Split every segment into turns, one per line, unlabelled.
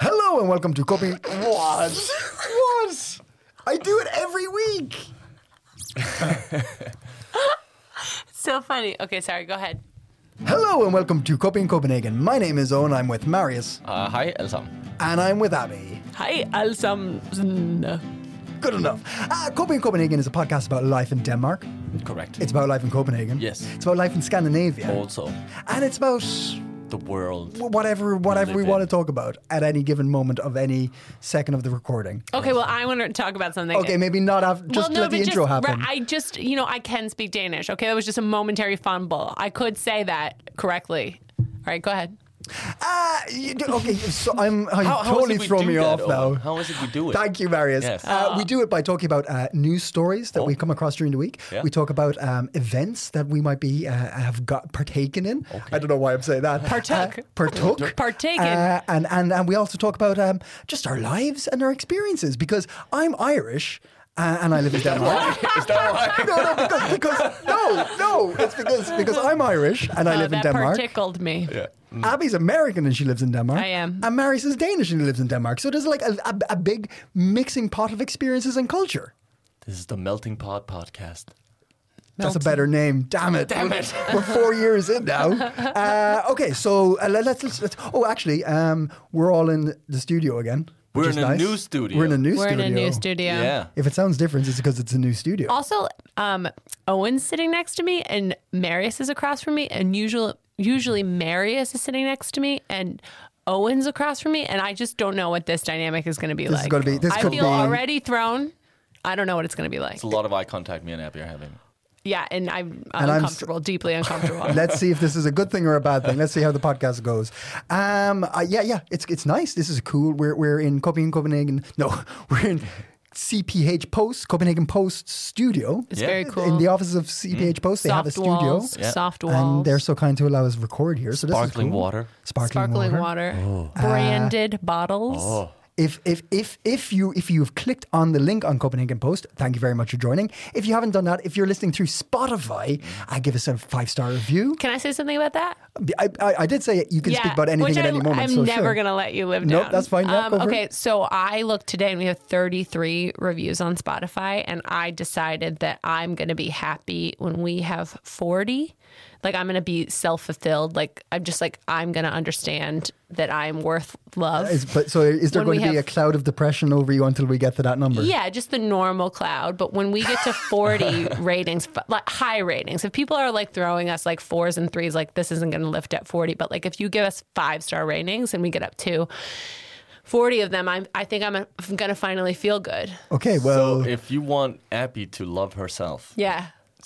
and welcome to Copy. What? what? I do it every week.
So funny. Okay, sorry. Go ahead.
Hello and welcome to Copy in Copenhagen. My name is Owen. I'm with Marius
Uh, hej alle sammen.
and I'm with Abby.
Hi, allsammen.
Good enough. Uh, Copy in Copenhagen is a podcast about life in Denmark.
Correct.
It's about life in Copenhagen.
Yes.
It's about life in Scandinavia.
also
And it's about
the world.
whatever whatever we
Live
want to
in.
talk about at any given moment of any second of the recording.
Okay, well, I want to talk about something.
Okay, maybe not after. Just
well, no,
let the
but
intro
just,
happen.
right, I just, you know, I can speak Danish. Okay, that was just a momentary fumble. I could say that correctly. All right, go ahead.
Ah, you do, okay, so I'm how you
How- how
totally
is it we
throw
do
me
that,
off now.
Owen? How is it we do it?
Thank you, Marius.
Yes.
Uh, we do it by talking about uh, news stories that we
Oh.
come across during the week.
Yeah.
We talk about um, events that we might be uh, have got partaken in. I don't know why I'm saying that.
Partook.
Uh, partook.
Partaken.
Uh, and and and we also talk about um, just our lives and our experiences because I'm Irish. Uh, and I live in Denmark.
Is that why?
no, no, because, because no, no, it's because because I'm Irish and I
Oh,
live in
that
Denmark.
part tickled me.
Mm. Abby's American and she lives in Denmark.
I am.
And Marius is Danish and he lives in Denmark. So there's like a, a, a big mixing pot of experiences and culture.
This is the Melting Pot podcast.
That's a better name. Damn it. Damn it. We're four years in now. Uh, okay, so uh, let- let's, let's, let's. Oh, actually, um, we're all in the studio again. which
We're
is
in a
nice.
new studio.
We're in a new
We're
studio.
in a new studio.
Yeah.
If it sounds different, it's because it's a new studio.
Also, um, Owen's sitting next to me, and Marius is across from me, and usually, usually Marius is sitting next to me, and Owen's across from me, and I just don't know what this dynamic is going to be
This is
like.
gonna be- this
I
could
feel
be-
already thrown. I don't know what it's going to be like.
It's a lot of eye contact me and Abby are having.
Yeah, and I'm
I'm s-
uncomfortable, deeply uncomfortable.
Let's see if this is a good thing or a bad thing. Let's see how the podcast goes. Um, uh, yeah, yeah, it's it's nice. This is cool. We're we're in Copenhagen, Copenhagen. No, we're in CPH Post, Copenhagen Post studio.
It's
Yeah.
very
In
cool. Mm.
In the offices of CPH Post, they
soft
have a studio,
walls,
Yeah.
soft walls,
and they're so kind to allow us record here. So this is
Sparkling
cool.
water.
sparkling,
sparkling
water. Oh. Uh,
water, branded bottles.
Oh.
If if if if you if you've clicked on the link on Copenhagen Post, thank you very much for joining. If you haven't done that, if you're listening through Spotify,
Mm.
I give us a five star review.
Can I say something about that?
I, I, I did say you can speak about anything
which
at
I,
any moment.
I'm
so
never
sure.
gonna let you live
Nope,
down.
that's fine. Yeah,
um,
go for
okay,
it.
so I looked today and we have 33 reviews on Spotify, and I decided that I'm gonna be happy when we have 40. Like I'm gonna be self fulfilled. Like I'm just like I'm gonna understand that I'm worth love.
Is, but so is there
When we
going to be a
have-
cloud of depression over you until we get to that number?
Yeah, just the normal cloud. But when we get to 40 ratings, f- like high ratings, if people are like throwing us like fours and threes, like this isn't going to lift at 40. But like if you give us five star ratings and we get up to 40 of them, I'm, I think I'm, I'm going to finally feel good.
Okay. Well,
So if you want Abby to love herself,
Yeah.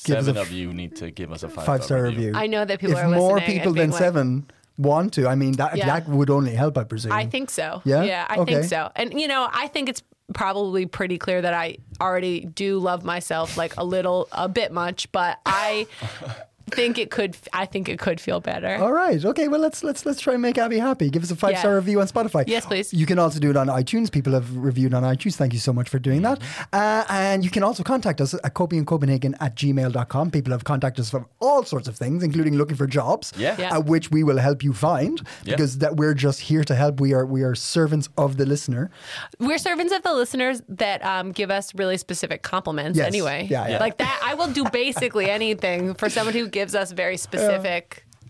Give us
seven
a
of you need to give us a five,
five star review.
I know that people
If
are
more
listening and
people than
being like-
seven want to, I mean that
Yeah.
that would only help, I presume.
I think so.
Yeah?
Yeah, I
Okay.
think so. And you know, I think it's probably pretty clear that I already do love myself like a little a bit much, but I think it could I think it could feel better.
All right. Okay. Well, let's let's let's try and make Abby happy. Give us a five star
Yeah.
review on Spotify.
Yes, please.
You can also do it on iTunes. People have reviewed on iTunes. Thank you so much for doing that.
Mm-hmm.
Uh, and you can also contact us at copyandcopenhagen at gmail.com. People have contacted us for all sorts of things, including looking for jobs,
Yeah.
Yeah.
uh, which we will help you find
Yeah.
because that we're just here to help. We are we are servants of the listener.
We're servants of the listeners that um, give us really specific compliments
Yes.
anyway.
Yeah, yeah.
Like that I will do basically anything for someone who gives us very specific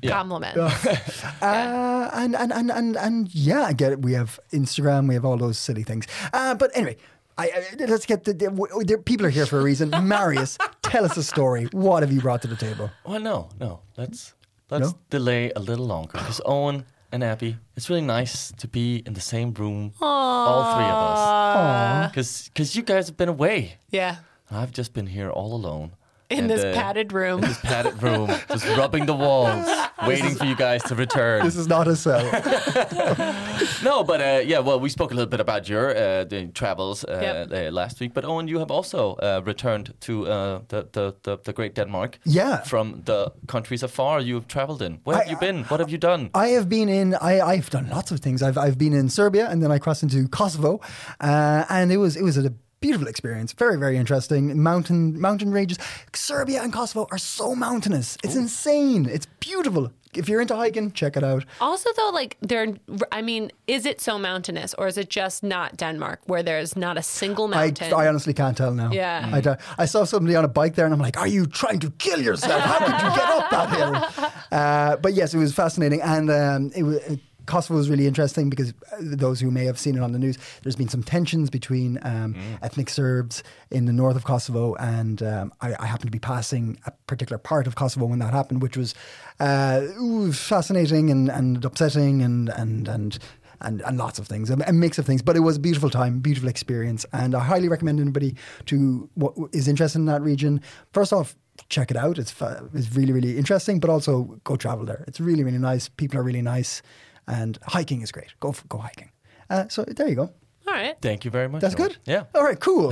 Yeah.
compliments.
Uh, and, and, and, and, and yeah, I get it. We have Instagram, we have all those silly things. Uh, but anyway, I, I, let's get the, the, w- the people are here for a reason. Marius, tell us a story. What have you brought to the table?
Well, Oh, no, no. Let's let's
No?
delay a little longer because Owen and Abby, it's really nice to be in the same room, all three of us,
Aw.
because you guys have been away.
Yeah.
I've just been here all alone.
In
And,
this
uh,
padded room.
this padded room, just rubbing the walls, waiting for you guys to return.
This is not a cell.
No, but uh, yeah, well, we spoke a little bit about your uh, the travels uh,
Yep.
uh, last week. But Owen, you have also uh, returned to uh, the, the, the the great Denmark.
Yeah.
From the countries afar you have traveled in. Where have
I-
you been? What have you done?
I have been in, I, I've done lots of things. I've, I've been in Serbia and then I crossed into Kosovo. Uh, and it was, it was a beautiful experience. Very, very interesting. Mountain, mountain ranges. Serbia and Kosovo are so mountainous. It's insane. It's beautiful. if you're into hiking, check it out.
Also, though, like there, I mean, is it so mountainous, or is it just not Denmark, where there's not a single
I,
mountain?
I honestly can't tell now.
Yeah.
I, don't- I saw somebody on a bike there and I'm like, are you trying to kill yourself? How could you get up that hill? Uh, but yes, it was fascinating. And um, it was, Kosovo was really interesting because uh, those who may have seen it on the news, there's been some tensions between um, ethnic Serbs in the north of Kosovo. And um, I, I happened to be passing a particular part of Kosovo when that happened, which was uh, ooh, fascinating and, and upsetting and, and, and and, and lots of things, a, a mix of things. But it was a beautiful time, beautiful experience, and I highly recommend anybody to what is interested in that region. First off, check it out; it's fa- it's really really interesting. But also go travel there; it's really really nice. People are really nice, and hiking is great. Go f- go hiking. Uh, so there you go.
All right,
Thank you very much.
That's
Owen.
good.
Yeah.
All right. Cool.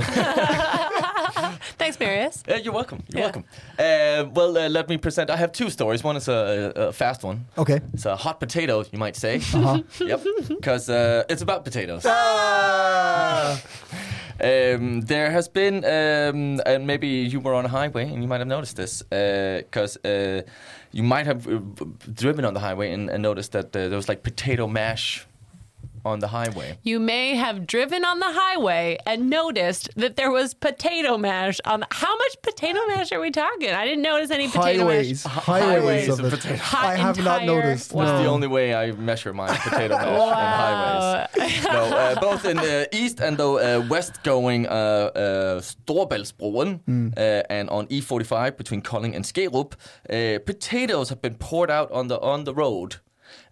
thanks, Marius.
Yeah, Uh, you're welcome. You're
Yeah.
welcome. Uh, well, uh, let me present. I have two stories. One is a, a a fast one.
Okay.
It's a hot potato, you might say. Uh-huh. yep. Because uh, it's about potatoes. Um, there has been, um, and maybe you were on a highway and you might have noticed this, because uh, you might have uh, driven on the highway and, and noticed that uh, there was like potato mash on the highway.
You may have driven on the highway and noticed that there was potato mash on. The, how much potato mash are we talking? I didn't notice any potato
highways,
mash.
highways
highways
of
of
it.
potatoes.
I have not
Entire-
noticed.
It's
Wow.
the only way I measure my potato mash
Wow.
and highways. No, uh, both in the east and the uh, west going uh, uh, Storbæltsbroen uh, and on E45 between Kolding and Skerup, uh, potatoes have been poured out on the on the road.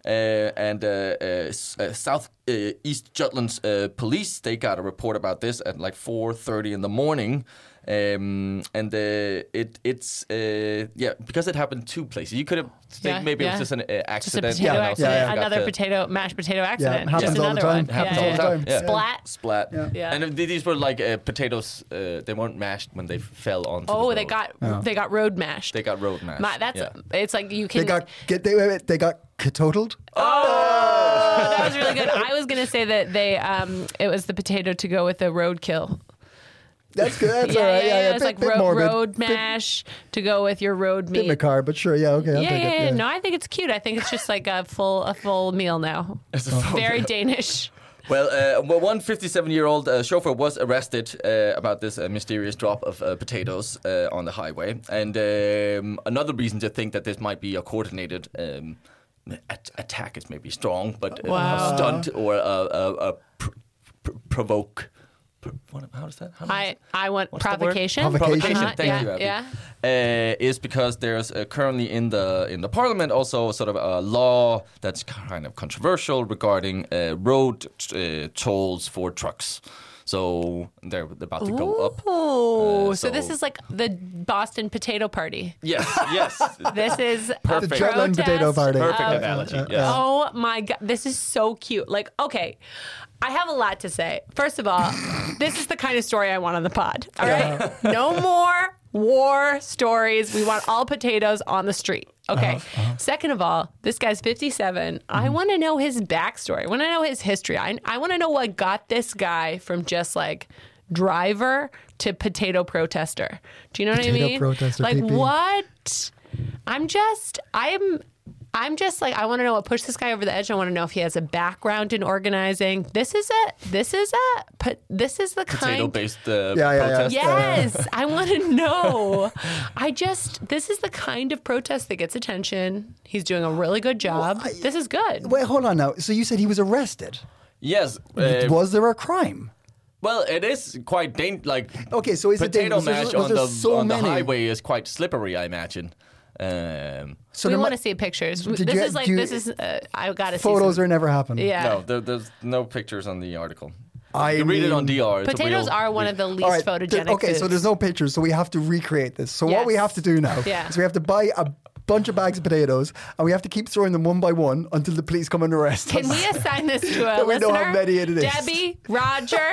Uh, and uh, uh, s- uh, South uh, East Jutland's uh, police they got a report about this at like 4:30 in the morning, um, and uh, it it's uh, yeah because it happened two places. You could have think
Yeah,
maybe it
yeah.
was just an uh,
Just a
accident.
potato
Yeah, yeah,
accident.
yeah.
Another
Got the-
potato mashed potato
Yeah,
accident.
it happens
Just
all
another
the time.
one.
Happens
yeah,
all
yeah.
the time. Yeah.
Splat.
Splat.
Yeah.
Yeah.
And th- these were like uh, potatoes. Uh, they weren't mashed when they fell onto. the
Oh, they
road.
got they got road mashed.
They got road mashed.
My, that's
yeah.
it's like you can.
They got get they, wait, wait, they got totaled.
Oh, that was really good. I was gonna say that they um it was the potato to go with the roadkill.
That's good. That's
yeah,
all right.
yeah,
Yeah,
yeah.
yeah.
It's
Bit-
like
bit
road,
morbid.
road mash to go with your road
Bit
meat.
macabre, but sure. Yeah. Okay. I'll
yeah,
take
yeah,
it.
yeah. No, I think it's cute. I think it's just like a full a full meal now. Very Danish.
Well, uh, well, one 57-year-old uh, chauffeur was arrested uh, about this uh, mysterious drop of uh, potatoes uh, on the highway, and um, another reason to think that this might be a coordinated um, at- attack is maybe strong, but uh,
Wow.
a stunt or a, a, a pr- pr- provoke. Pr- what, how does that? How does
I I want
What's the word?
provocation.
Provocation.
Provocation.
Uh-huh,
Thank
yeah,
you, Abby.
yeah.
Uh, is because there's uh, currently in the in the parliament also sort of a law that's kind of controversial regarding uh, road uh, tolls for trucks. So they're about to go up.
Ooh,
Uh,
so this
so-
is like the Boston potato party.
Yes, yes.
This is a
Perfect.
The Jutland potato
protest
party.
Perfect
Yeah,
analogy.
yeah,
Yes.
yeah.
Oh my god, this is so cute. Like, okay, I have a lot to say. First of all, this is the kind of story I want on the pod. All right, no more war stories. We want all potatoes on the street. Okay.
Uh-huh,
Second of all, this guy's 57. I
Mm-hmm.
want to know his backstory. I want to know his history. I, I want to know what got this guy from just like driver to potato protester. Do you know what
Potato
I mean?
protester,
like,
PP.
what? I'm just I'm I'm just like I want to know what pushed this guy over the edge. I want to know if he has a background in organizing. This is a this is a po- this is the kind
Potato-based uh,
Yeah, yeah, yeah.
protest.
Yes, I want to know. I just this is the kind of protest that gets attention. He's doing a really good job. this is good.
Wait, hold on now. So you said he was arrested.
Yes. Uh,
Was there a crime?
well, it is quite dangerous. Like
Okay, so is it dangerous?
potato
Was there-
mash
was
on,
there
the,
so
on the
many?
highway is quite slippery, I imagine. Um,
So
we
there
want
mi-
to see pictures.
Did
this
you-
is like
do you-
this is uh, I got to see
photos
some-
are never happening.
yeah.
No, there, there's no pictures on the article.
I
you read it on
mean-
DR. It's a
Potatoes
real-
are one of the least
All right. there-
photogenic.
okay, so
foods.
there's no pictures, so we have to recreate this. So what we
Yes.
have to do now
Yeah.
is we have to buy a bunch of bags of potatoes, and we have to keep throwing them one by one until the police come and arrest
Can
us.
we assign this to a
That we
listener?
know how many it is.
Debbie, Roger,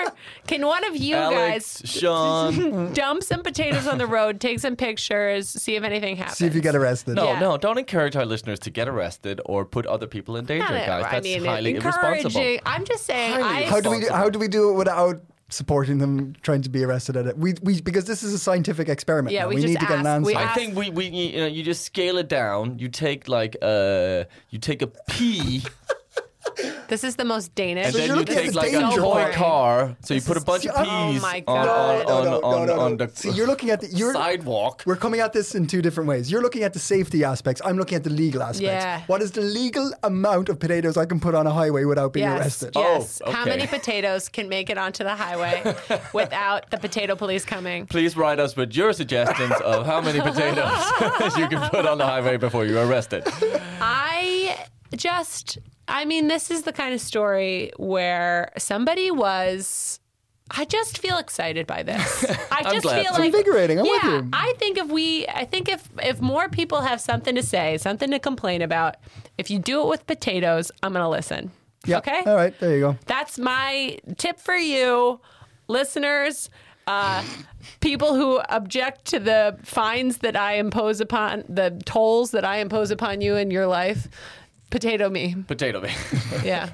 can one of you
Alex, Sean.
guys dump some potatoes on the road, take some pictures, see if anything happens?
See if you get arrested.
No,
Yeah.
no, don't encourage our listeners to get arrested or put other people in danger,
Not it,
guys.
I
That's
mean,
highly
encouraging.
irresponsible.
I'm just saying.
Highly
I,
How do we? How do we do it without supporting them trying to be arrested at it. We, we because this is a scientific experiment.
Yeah,
now.
we
we,
just
need to get an
ask-
answer.
we
I
ask-
think we, we you know you just scale it down. You take like uh you take a pea
This is the most Danish.
and
So
then
you're
you
looking at
take
this
like a
danger
toy
boring.
car. So you
This
put a
is-
bunch of
Oh
peas
my
on, on,
God.
on,
no, no,
on,
no, no,
on
no.
the
See, you're looking at the you're,
sidewalk.
We're coming at this in two different ways. You're looking at the safety aspects. I'm looking at the legal aspects.
Yeah.
What is the legal amount of potatoes I can put on a highway without being
yes.
arrested?
Yes.
Oh,
How
okay.
many potatoes can make it onto the highway without the potato police coming?
Please write us with your suggestions of how many potatoes you can put on the highway before you're arrested.
I just, I mean, this is the kind of story where somebody was. I just feel excited by this. I
I'm
just
glad.
feel
It's
like
invigorating. I'm
yeah,
with you.
I think if we, I think if if more people have something to say, something to complain about, if you do it with potatoes, I'm gonna listen.
Yeah.
Okay.
All right. There you go.
That's my tip for you, listeners. Uh, people who object to the fines that I impose upon the tolls that I impose upon you in your life, potato me.
Potato man.
Yeah.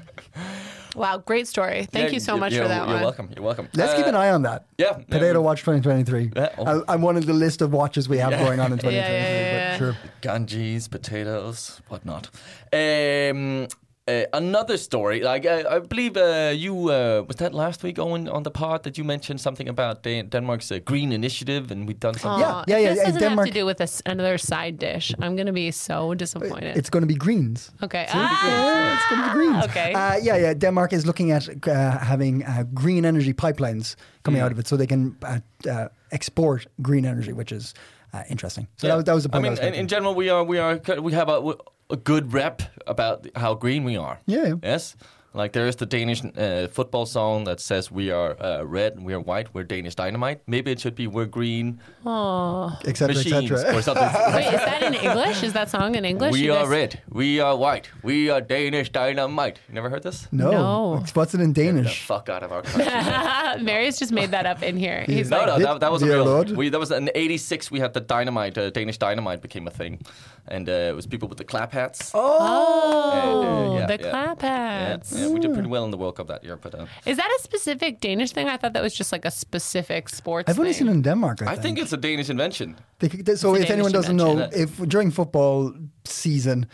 wow, great story. Thank you so much for that
you're
one.
welcome. You're welcome.
Let's keep an eye on that.
Uh, yeah, yeah,
Potato
we-
Watch 2023.
Yeah, oh.
I, I'm one of the list of watches we have going on in 2023.
yeah, yeah.
But sure.
Ganges, potatoes, whatnot. Um, uh, another story, like I, I believe uh, you uh, was that last week, Owen, on the pod that you mentioned something about Dan- Denmark's uh, green initiative, and we've done something.
Yeah,
Aw,
yeah,
if
yeah,
This
yeah,
doesn't
Denmark-
have to do with this, another side dish. I'm gonna be so disappointed.
It's going to be greens.
okay. Ah,
Yeah, it's going to be greens.
okay.
Uh, yeah, yeah. Denmark is looking at uh, having uh, green energy pipelines coming
Mm.
out of it, so they can uh, uh, export green energy, which is uh, interesting. So that, was- that was the point.
I
I
mean,
was
in,
making.
in general, we are we are we have a, a good rep about how green we are.
Yeah.
Yes. Like there is the Danish uh, football song that says we are uh, red, we are white, we're Danish dynamite. Maybe it should be we're green
et cetera, et
machines
cetera.
or something.
Ah! Wait, is that in English? Is that song in English?
We
You
are
guys-
red. We are white. We are Danish dynamite. You never heard this?
No.
No.
What's it in
The
Danish?
fuck out of our country.
Mary's just made that up in here. He's
no,
like,
no, that, that was a
Dear
real.
Lord.
We, that was in '86. We had the dynamite. Uh, Danish dynamite became a thing, and uh, it was people with the clap hats. Oh,
oh,
yeah,
the
yeah.
clap
yeah,
hats.
yeah, we did pretty well in the World Cup that year, but uh,
Is that a specific Danish thing? I thought that was just like a specific sports.
I've only
thing.
seen it in Denmark. I
I
think.
think it's a Danish invention.
They could- so
It's a
if anyone
Danish
doesn't know,
dimension,
if during football season,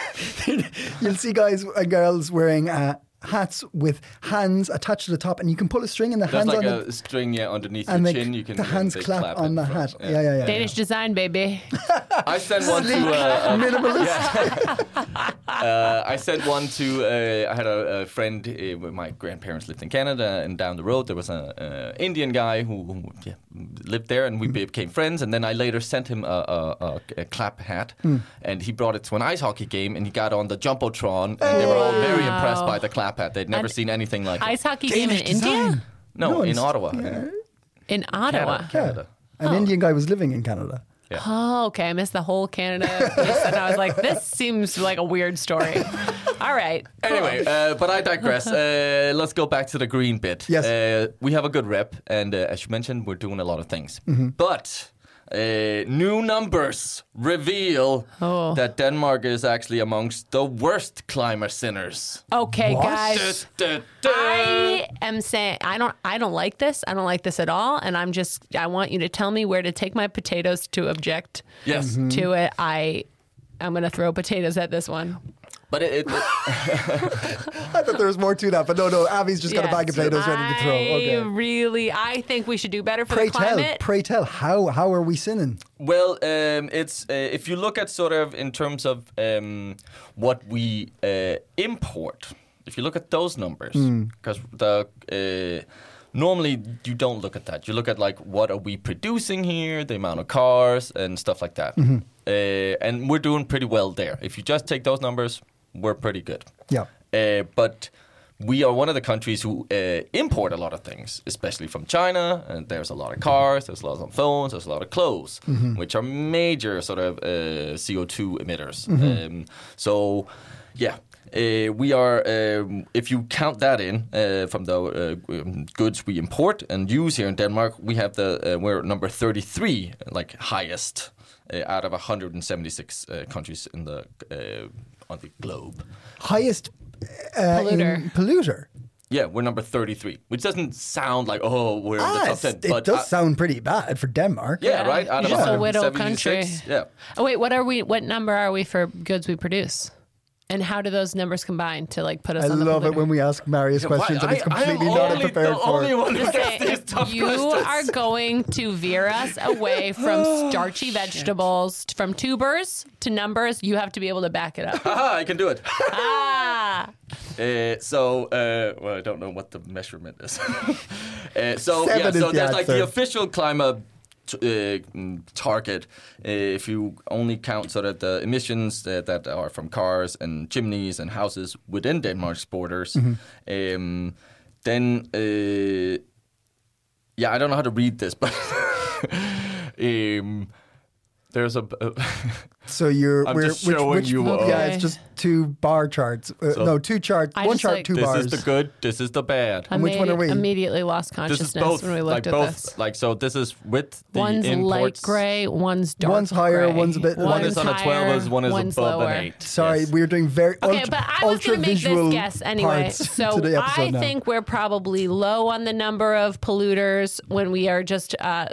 you'll see guys and girls wearing uh, hats with hands attached to the top, and you can pull a string, and the
There's
hands
like
on
a string yeah, underneath
and
your
the,
chin. You can
the
and
hands
they
clap,
clap
on
it
the
from-
hat. Yeah, yeah,
uh,
yeah.
Danish design, baby.
I sent one to uh, a
Minimalist.
uh, I sent one to. Uh, I had a, a friend. Uh, when my grandparents lived in Canada, and down the road there was an uh, Indian guy who, who yeah, lived there, and we
Mm-hmm.
became friends. And then I later sent him a, a, a, a clap hat,
Hmm.
and he brought it to an ice hockey game, and he got on the jumbotron, and they were all very
Wow.
impressed by the clap hat. They'd never seen anything like
Ice
it.
hockey game in India,
No,
No,
in
it's-
Ottawa, in
in Ottawa.
Canada. Canada.
An Indian guy was living in Canada.
Oh, okay. I missed the whole Canada piece, and I was like, this seems like a weird story. All right.
Anyway, uh, but I digress. Uh, let's go back to the green bit.
Yes.
Uh, we have a good rep, and uh, as you mentioned, we're doing a lot of things. But uh, new numbers reveal
Oh.
that Denmark is actually amongst the worst climber sinners.
Okay,
What?
guys.
Da, da, da.
I am saying I don't I don't like this. I don't like this at all. And I'm just I want you to tell me where to take my potatoes to object
Yes.
to it. I I'm gonna throw potatoes at this one.
But it, it,
I thought there was more to that, but no, no. Abby's just got a
Yes.
bag of potatoes ready to throw.
I
Okay.
really I think we should do better for
Pray
the
tell,
climate.
pray tell, how how are we sinning?
Well, um, it's uh, if you look at sort of in terms of um, what we uh, import. If you look at those numbers, because the uh, normally you don't look at that. You look at like what are we producing here, the amount of cars and stuff like that. Uh, and we're doing pretty well there. If you just take those numbers, we're pretty good.
Yeah.
Uh, but we are one of the countries who uh, import a lot of things, especially from China. And there's a lot of cars, there's a lot of phones, there's a lot of clothes, which are major sort of uh, CO2 emitters. Um, so, yeah. Uh, we are, um, if you count that in uh, from the uh, um, goods we import and use here in Denmark, we have the uh, we're number 33, like highest uh, out of 176 uh, countries in the uh, on the globe.
Highest uh, in-
Polluter.
polluter.
Yeah, we're number 33, which doesn't sound like, oh, we're in the
Ah,
top
it's-
10.
it
But
does
I-
sound pretty bad for Denmark.
yeah, right? Out of
Just a
176,
widow country.
Yeah.
Oh wait, what are we? What number are we for goods we produce? And how do those numbers combine to like put us
I
on the
love it
polluter?
when we ask Marius questions
Why-
that he's
I- I am
completely not
only,
prepared
the
for.
only one who
Just
gets
say,
these tough
you
questions.
are going to veer us away
Oh,
from starchy vegetables, from tubers to numbers. You have to be able to back it up.
Aha, I can do it.
ah,
Uh, so, uh, well, I don't know what the measurement is. uh, so,
Seven
yeah,
is
so
the
there's like the
answer.
official climate t- uh, mm, target. Uh, if you only count sort of the emissions uh, that are from cars and chimneys and houses within Denmark's borders,
Mm-hmm.
um, then uh, yeah, I don't know how to read this, but um, there's a.
So you're
I'm
we're,
just
which,
showing
which,
you
all.
Yeah, it's just two bar charts. Uh,
So-
no, two charts.
I
One
just
chart,
like-
two
this
bars.
is the good. This is the bad.
I
And which one
made-
are we?
immediately lost
this is
consciousness
both
when we
like
looked at
both
this.
like so this is with the
One's light
imports
gray, one's dark.
One's higher,
gray.
one's a bit-
one is on a 12
higher,
one is
one's
above
lower.
an 8
Sorry,
yes.
we're doing very
Okay,
ultra,
but I was going
ultra
to make
visual
this guess anyway.
parts
So
to the episode
I
now.
think we're probably low on the number of polluters when we are just uh,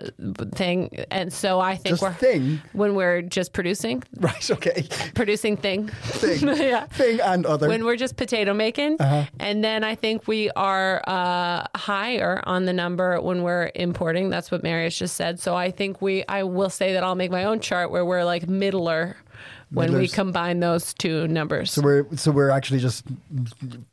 thing, and so I think
Just
we're
thing?
when we're just producing
right. Okay,
producing thing,
thing, Uh-huh.
yeah.
thing, and other.
When we're just potato making, and then I think we are uh, higher on the number when we're importing. That's what Marius just said. So I think we, I will say that I'll make my own chart where we're like middler when we
Middlers.
combine those two numbers.
so we're so we're actually just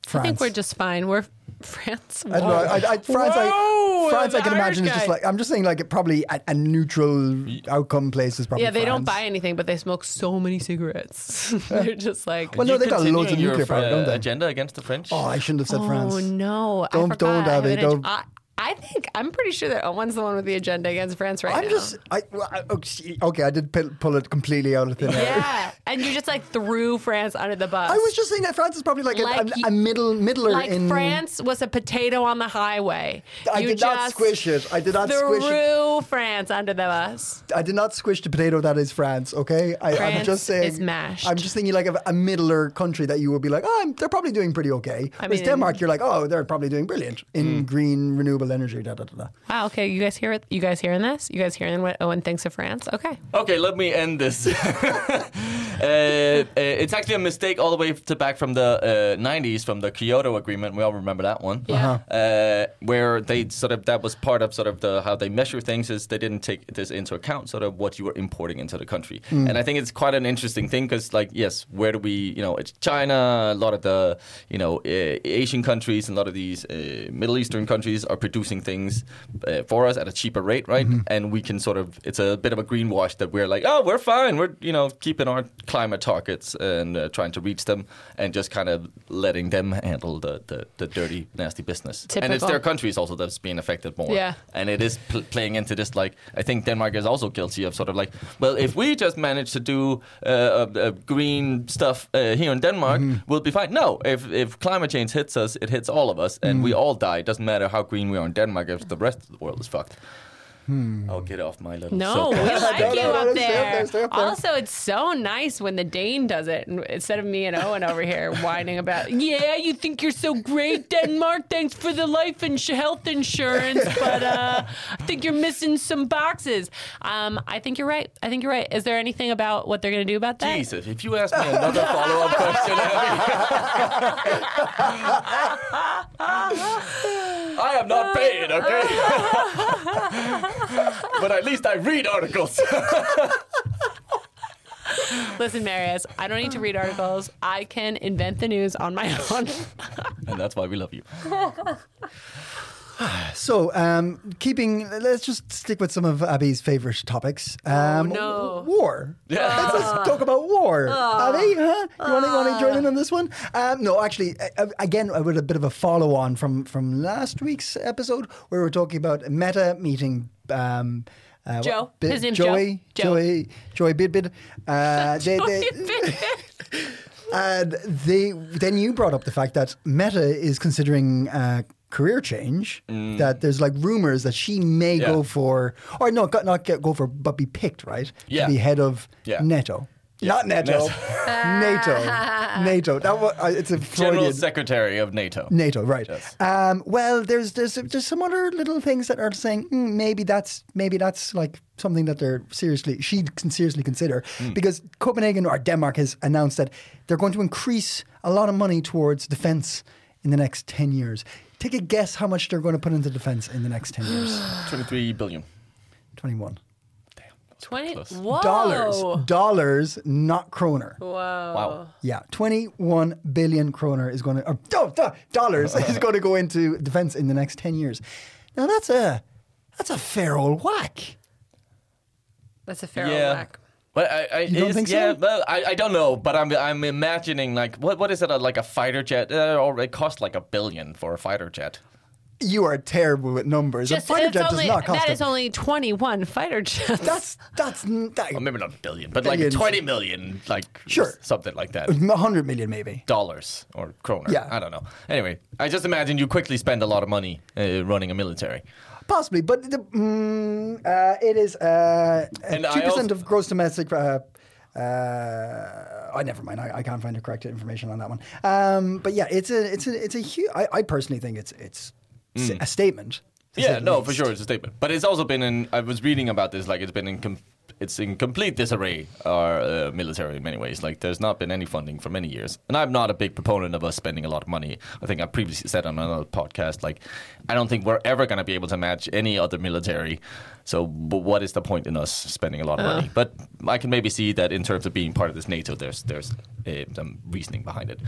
France.
I think we're just fine. We're France.
I don't know. I, I, France, I,
Whoa,
France, I
an
can
Irish
imagine is just
guy.
like I'm just saying, like it probably a, a neutral outcome place is probably.
yeah, they don't
France.
buy anything, but they smoke so many cigarettes. They're just like,
Well, no,
You
they got loads of
continuing your,
nuclear power,
uh,
don't they?
agenda against the French
Oh, I shouldn't have said France.
oh no, I
Don't-
forgot.
don't,
I have
Abby,
an ag-
don't.
I, I think I'm pretty sure that Owen's the one with the agenda against France right
I'm
now.
just, I, well, I- oh, see, okay, I did pull, pull it completely out of thin air.
yeah, and you just like threw France under the bus.
I was just saying that France is probably like, a-
Like
a, a,
you-
middle middler
like
in
France was a potato on the highway.
I
you
did
just
not squish it. I did not squish it.
threw France under the bus.
I did not squish the potato that is France. Okay, I, I'm
France
just saying.
is mashed.
I'm just thinking like of a middler country that you would be like, oh, I'm, they're probably doing pretty okay. Whereas
mean- Mm.
Denmark, you're like, oh, they're probably doing brilliant in green renewable energy. Da da da. da.
Wow. Okay, you guys hear it? You guys hearing this? You guys hearing what Owen thinks of France? Okay.
okay let me end this uh, uh, it's actually a mistake all the way to back from the uh, 90s from the Kyoto agreement we all remember that one
Yeah. Uh-huh.
uh, where they sort of that was part of sort of the how they measure things is they didn't take this into account sort of what you were importing into the country
Hmm.
and i think it's quite an interesting thing because like yes where do we you know it's china a lot of the you know uh, asian countries and a lot of these uh, middle eastern countries are producing things uh, for us at a cheaper rate right and we can sort of it's a bit of a greenwash that we're like oh we're fine we're you know keeping our climate targets and uh, trying to reach them and just kind of letting them handle the the, the dirty nasty business and it's
Typical.
their countries also that's being affected more.
Yeah.
And it is pl- playing into this, like, I think Denmark is also guilty of sort of like, well, if we just manage to do uh, uh, uh, green stuff uh, here in Denmark, we'll be fine. No, if, if climate change hits us, it hits all of us, and we all die. It doesn't matter how green we are in Denmark if the rest of the world is fucked. I'll get off my little
No, we
soapbox.
like
No,
you
no,
up,
no, stay up
there.
there, stay up there.
Also, it's so nice when the Dane does it and instead of me and Owen over here whining about, yeah, you think you're so great, Denmark. Thanks for the life and sh- health insurance, but uh, I think you're missing some boxes. Um, I think you're right. I think you're right. Is there anything about what they're going to do about that?
Jesus, if you ask me another follow up question, Abby. I am not paid, okay? but at least I read articles.
Listen, Marius, I don't need to read articles. I can invent the news on my own.
and that's why we love you.
So, um, keeping, let's just stick with some of Abby's favorite topics. Um,
Oh, no. Ah.
War.
Yeah.
Let's just talk about war. Abby, huh? You want to join in on this one? Um, no, actually, uh, again, I with a bit of a follow on from, from last week's episode where we were talking about Meta meeting. Um, uh,
Joe.
what- Bi-
His name's
Joey,
Joe. Joe.
Joey, Joey Bidbid. Uh, they, they, and they then you brought up the fact that Meta is considering uh, career change. That there's like rumors that she may
Mm. Yeah.
go for, or no, go- not get, go for, but be picked, right?
Yeah.
To be head of
Yeah.
Neto. Not NATO. NATO. NATO. That was, uh, it's a
General
Freudian.
Secretary of NATO.
NATO, right?
Yes.
Um, well, there's there's there's some other little things that are saying mm, maybe that's maybe that's like something that they're seriously she can seriously consider
Hmm.
because Copenhagen or Denmark has announced that they're going to increase a lot of money towards defence in the next ten years. Take a guess how much they're going to put into defence in the next ten years?
23 billion.
Twenty one
Twenty
Close.
whoa.
dollars, dollars, not kroner.
Whoa.
Wow.
Yeah, 21 billion kroner is going to, or do- do- dollars is going to go into defense in the next 10 years. Now that's a that's a fair old whack.
That's a fair old whack.
But I, I,
don't
it's-
think so?
yeah, well, I, I don't know, but I'm I'm imagining like what what is it uh, like a fighter jet? Uh, or it costs like a billion for a fighter jet.
You are terrible with numbers.
Just,
a fighter
it's
jet
only,
does not cost
that is
a-
only twenty-one fighter jets.
That's that's n- that,
Or maybe not a billion, but
Billions.
like twenty million, like
Sure.
something like that.
100 million maybe.
Dollars or kroner.
Yeah.
I don't know. Anyway, I just imagine you quickly spend a lot of money uh, running a military.
Possibly, but the, mm, uh, it is uh,
And I
2%
also-
of gross domestic. Uh, uh, oh, never mind. I, I can't find the correct information on that one. Um, but yeah, it's a it's a it's a huge. I, I personally think it's it's s- a statement. to say
Mm. Yeah,
the
no,
least.
for sure, it's a statement. But it's also been in. I was reading about this. Like, it's been in. Com- it's in complete disarray. Our uh, military, in many ways, like there's not been any funding for many years. And I'm not a big proponent of us spending a lot of money. I think I previously said on another podcast, like, I don't think we're ever going to be able to match any other military. So, but what is the point in us spending a lot of money? But I can maybe see that in terms of being part of this NATO, there's there's uh, some reasoning behind it.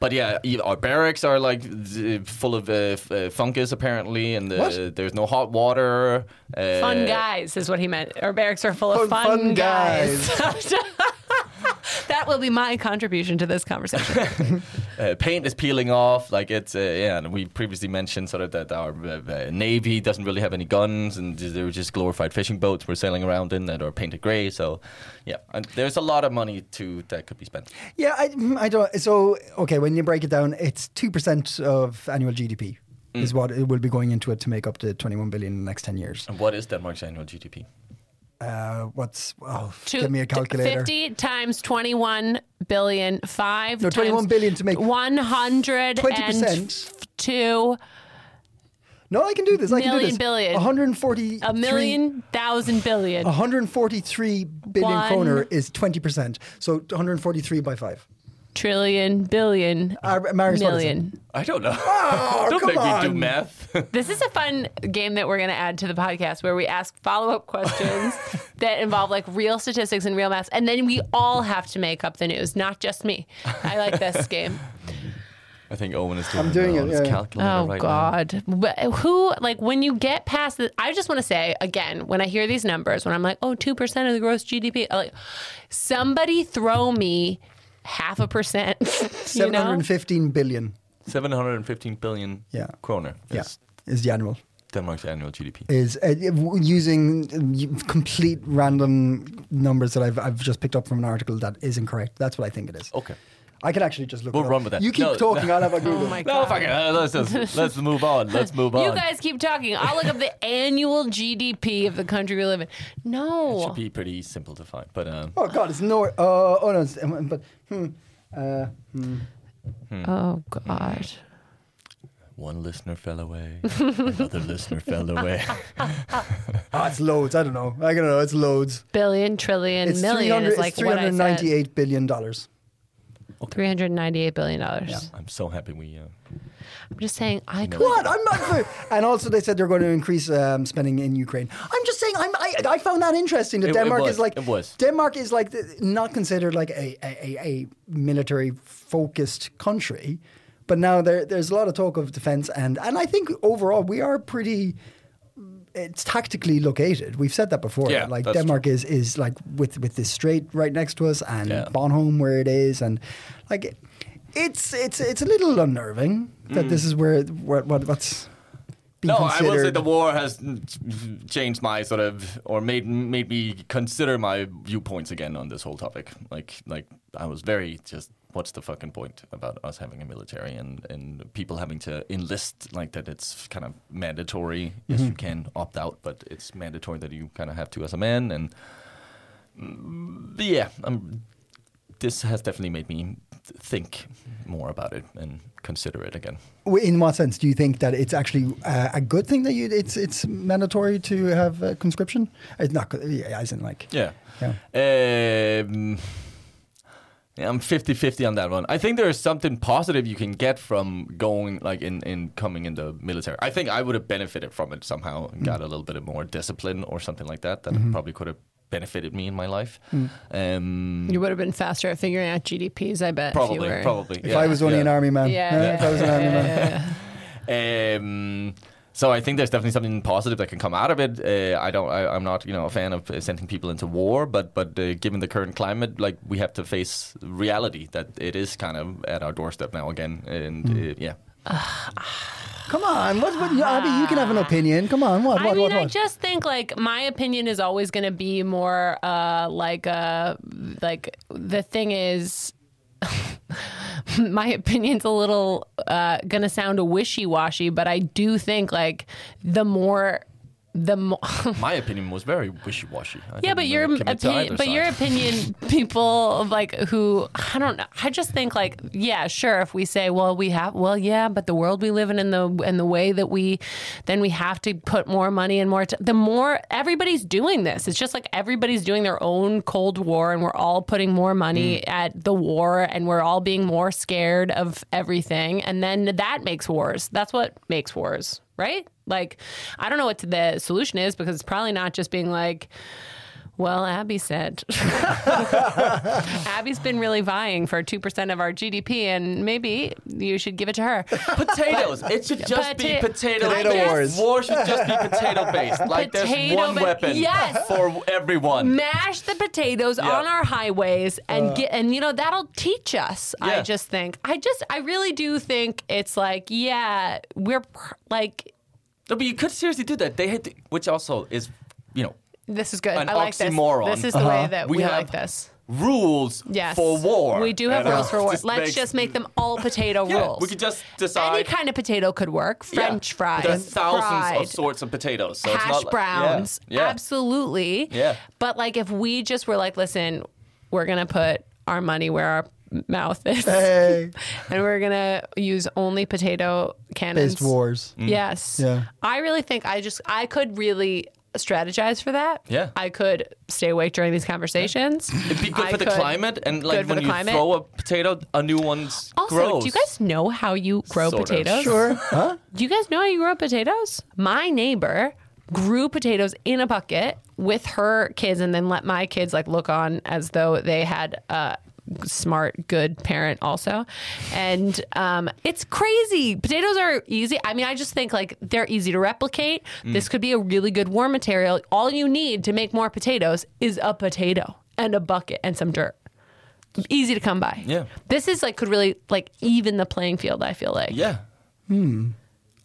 But yeah, e- our barracks are like z- full of uh, f- uh, fungus apparently, and the,
What?
there's no hot water. Uh,
Fun guys is what he meant. Our barracks are full of
Fun-
fun,
fun
guys. that will be my contribution to this conversation.
uh, paint is peeling off. Like it's uh, yeah, and we previously mentioned sort of that our uh, uh, navy doesn't really have any guns, and they were just glorified fishing boats we're sailing around in that are painted gray. So yeah, and there's a lot of money too that could be spent.
Yeah, I, mm, I don't. So okay, when you break it down, it's two percent of annual GDP
Mm.
is what it will be going into it to make up the twenty-one billion in the next ten years.
And what is Denmark's annual GDP?
Uh, what's oh,
Two-
give me a
t-
calculator.
Fifty times twenty-one billion five.
No, 21 billion to make
one hundred
20%.
two
No, I can do this. I can do
Million
this.
billion.
One hundred forty.
a million thousand billion.
Oh. 143 billion
One.
kroner is 20%. So 143 by 5.
trillion billion
Uh, Marius, what is it?
million.
I don't know. don't
Oh, come
make me do
on.
math.
This is a fun game that we're going to add to the podcast where we ask follow up questions that involve like real statistics and real math. And then we all have to make up the news, not just me. I like this game.
I think Owen is doing,
doing
it.
it,
on his
yeah.
calculator
Oh
right now.
God! But Who like when you get past the? I just want to say again when I hear these numbers, when I'm like, oh, two percent of the gross GDP, I'm like somebody throw me half a percent. you know?
715 billion.
715 billion
Yeah.
kroner
Yeah.
is
Is the annual.
Denmark's annual GDP.
Is uh, w- using um, complete random numbers that I've, I've just picked up from an article that is incorrect. That's what I think it is.
Okay.
I can actually just look
We'll
it up.
run with that.
You keep
No,
talking, I'll have a Google.
Oh my
No,
God!
fuck it. Uh, let's just, let's move on. Let's move on.
You guys keep talking. I'll look up the annual GDP of the country we live in.
It
No.
should be pretty simple to find, but um,
Oh, God, it's no. Uh, oh, no. It's, um, but hmm, uh,
Oh God.
one listener fell away, another listener fell away.
oh, it's loads. I don't know. I don't know. It's loads.
Billion, trillion,
It's,
million
300,
is like
it's
what I said.
398 billion dollars.
Three hundred ninety-eight billion dollars.
I'm so happy we. Uh,
I'm just saying, I could.
What? I'm not. and also, they said they're going to increase um, spending in Ukraine. I'm just saying. I'm, I I found that interesting. That
It- it
Denmark
was,
is like
it was.
Denmark is like the, not considered like a a, a, a military focused country, but now there there's a lot of talk of defense and and I think overall we are pretty. It's tactically located. We've said that before.
Yeah,
like
that's
Denmark is is like with with this strait right next to us and
Yeah.
Bonholm where it is, and like it, it's it's it's a little unnerving that this is where what, what what's being
Mm. no, I
considered.
will say the war has changed my sort of, or made made me consider my viewpoints again on this whole topic. Like, like I was very just, what's the fucking point about us having a military and and people having to enlist like that? It's kind of mandatory. Yes, you can opt out, but it's mandatory that you kind of have to as a man and. yeah, um, this has definitely made me think more about it and consider it again.
W- In what sense do you think that it's actually uh, a good thing that you it's it's mandatory to have uh, conscription? It's not co- yeah, as in like
Yeah.
Yeah.
Um, yeah, I'm 50-50 on that one. I think there is something positive you can get from going like in, in coming in the military. I think I would have benefited from it somehow and
Mm.
got a little bit of more discipline or something like that that
Mm-hmm.
probably could have benefited me in my life.
Mm.
Um,
You would have been faster at figuring out GDPs, I bet. if
probably,
you were.
probably.
if
yeah,
I was only
yeah.
an army man.
Yeah,
huh?
yeah,
if I was an
yeah,
army man.
yeah, yeah.
Um, so I think there's definitely something positive that can come out of it. Uh, I don't. I, I'm not, you know, a fan of uh, sending people into war, but but uh, given the current climate, like we have to face reality that it is kind of at our doorstep now again. And uh, yeah,
Come on, what, what, Abby, you can have an opinion. Come on, what,
Ah. I
what,
mean,
what,
I
what?
just think like my opinion is always going to be more uh, like uh like the thing is. My opinion's a little uh, gonna sound a wishy washy, but I do think like the more, the more.
my opinion was very wishy washy.
yeah, but your opinion, but your opinion, people like who I don't know. I just think like yeah, sure. If we say well, we have well, yeah, but the world we live in and the and the way that we, then we have to put more money and more. T- the more everybody's doing this, it's just like everybody's doing their own Cold War, and we're all putting more money at the war, and we're all being more scared of everything, and then that makes wars. That's what makes wars, right? Like, I don't know what the solution is because it's probably not just being like, well, Abby said. Abby's been really vying for 2% of our GDP, and maybe you should give it to her.
potatoes. it should just be
Pota-
potato.
Potato
based.
wars.
War should just be potato based. Like there's
Potato
one
ba-
weapon
Yes.
for everyone.
Mash the potatoes on our highways and get, and you know, that'll teach us.
Uh. Yeah.
I just think. I just, I really do think it's like, yeah, we're pr- like,
No, but you could seriously do that. They had, to, which also is, you know,
this is good.
An
I like
oxymoron. Uh-huh.
this. This is the way that
We
we,
have-
like this.
rules
Yes.
for war.
We do have
And, uh,
rules for war.
this
Let's
makes-
just make them all potato
yeah,
rules.
We could just decide.
Any kind of potato could work.
Yeah.
French fries.
There's thousands
fried.
of sorts of potatoes. So it's
hash
not like-
browns.
Yeah. yeah.
Absolutely.
Yeah.
But like if we just were like, listen, we're gonna put our money where our mouth is.
Hey,
And we're gonna use only potato cannons.
based wars.
Mm.
Yes.
Yeah.
I really think I just I could really strategize for that.
Yeah.
I could stay awake during these conversations.
It'd be good
I
for the
could-
climate, and like
good for
when
the
you
climate.
throw a potato, a new one
Also,
grows.
do you guys know how you grow
Sort of.
potatoes?
Sure, huh?
Do you guys know how you grow potatoes? My neighbor grew potatoes in a bucket with her kids and then let my kids like look on as though they had a smart good parent also and um, it's crazy potatoes are easy i mean i just think like they're easy to replicate
Mm.
this could be a really good war material all you need to make more potatoes is a potato and a bucket and some dirt easy to come by
Yeah.
this is like could really like even the playing field i feel like
Yeah.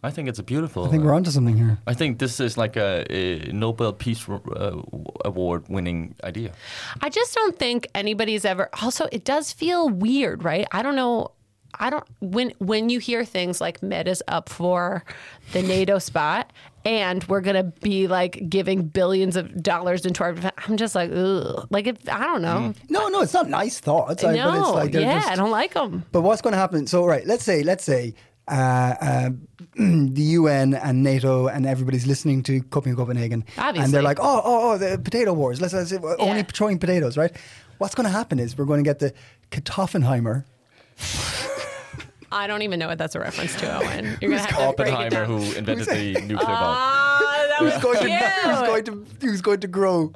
I think it's a beautiful.
Hmm.
uh,
I think we're onto something here.
I think this is like a, a Nobel Peace Ro- uh, Award winning idea.
I just don't think anybody's ever. Also, it does feel weird, right? I don't know. I don't when when you hear things like Med is up for the NATO spot and we're gonna be like giving billions of dollars into our. defense, I'm just like, ugh. Like if I don't know.
No, no, it's not nice thoughts. I-
no,
Mm-hmm. but it's like they're
yeah,
just
I don't like them.
But what's going to happen? So, right, let's say, let's say uh, uh, the UN and NATO and everybody's listening to Coping Copenhagen, and
Obviously.
they're like, oh, oh, oh, the potato wars. Let's, let's uh, only
Yeah.
throwing potatoes, right? What's going to happen is we're going to get the Katoffenheimer.
I don't even know what that's a reference to, Owen. You're gonna have to break it
Oppenheimer,
down.
who invented the nuclear bomb.
Ah, that was
Who's going, to,
cute.
who's, going to, who's going to grow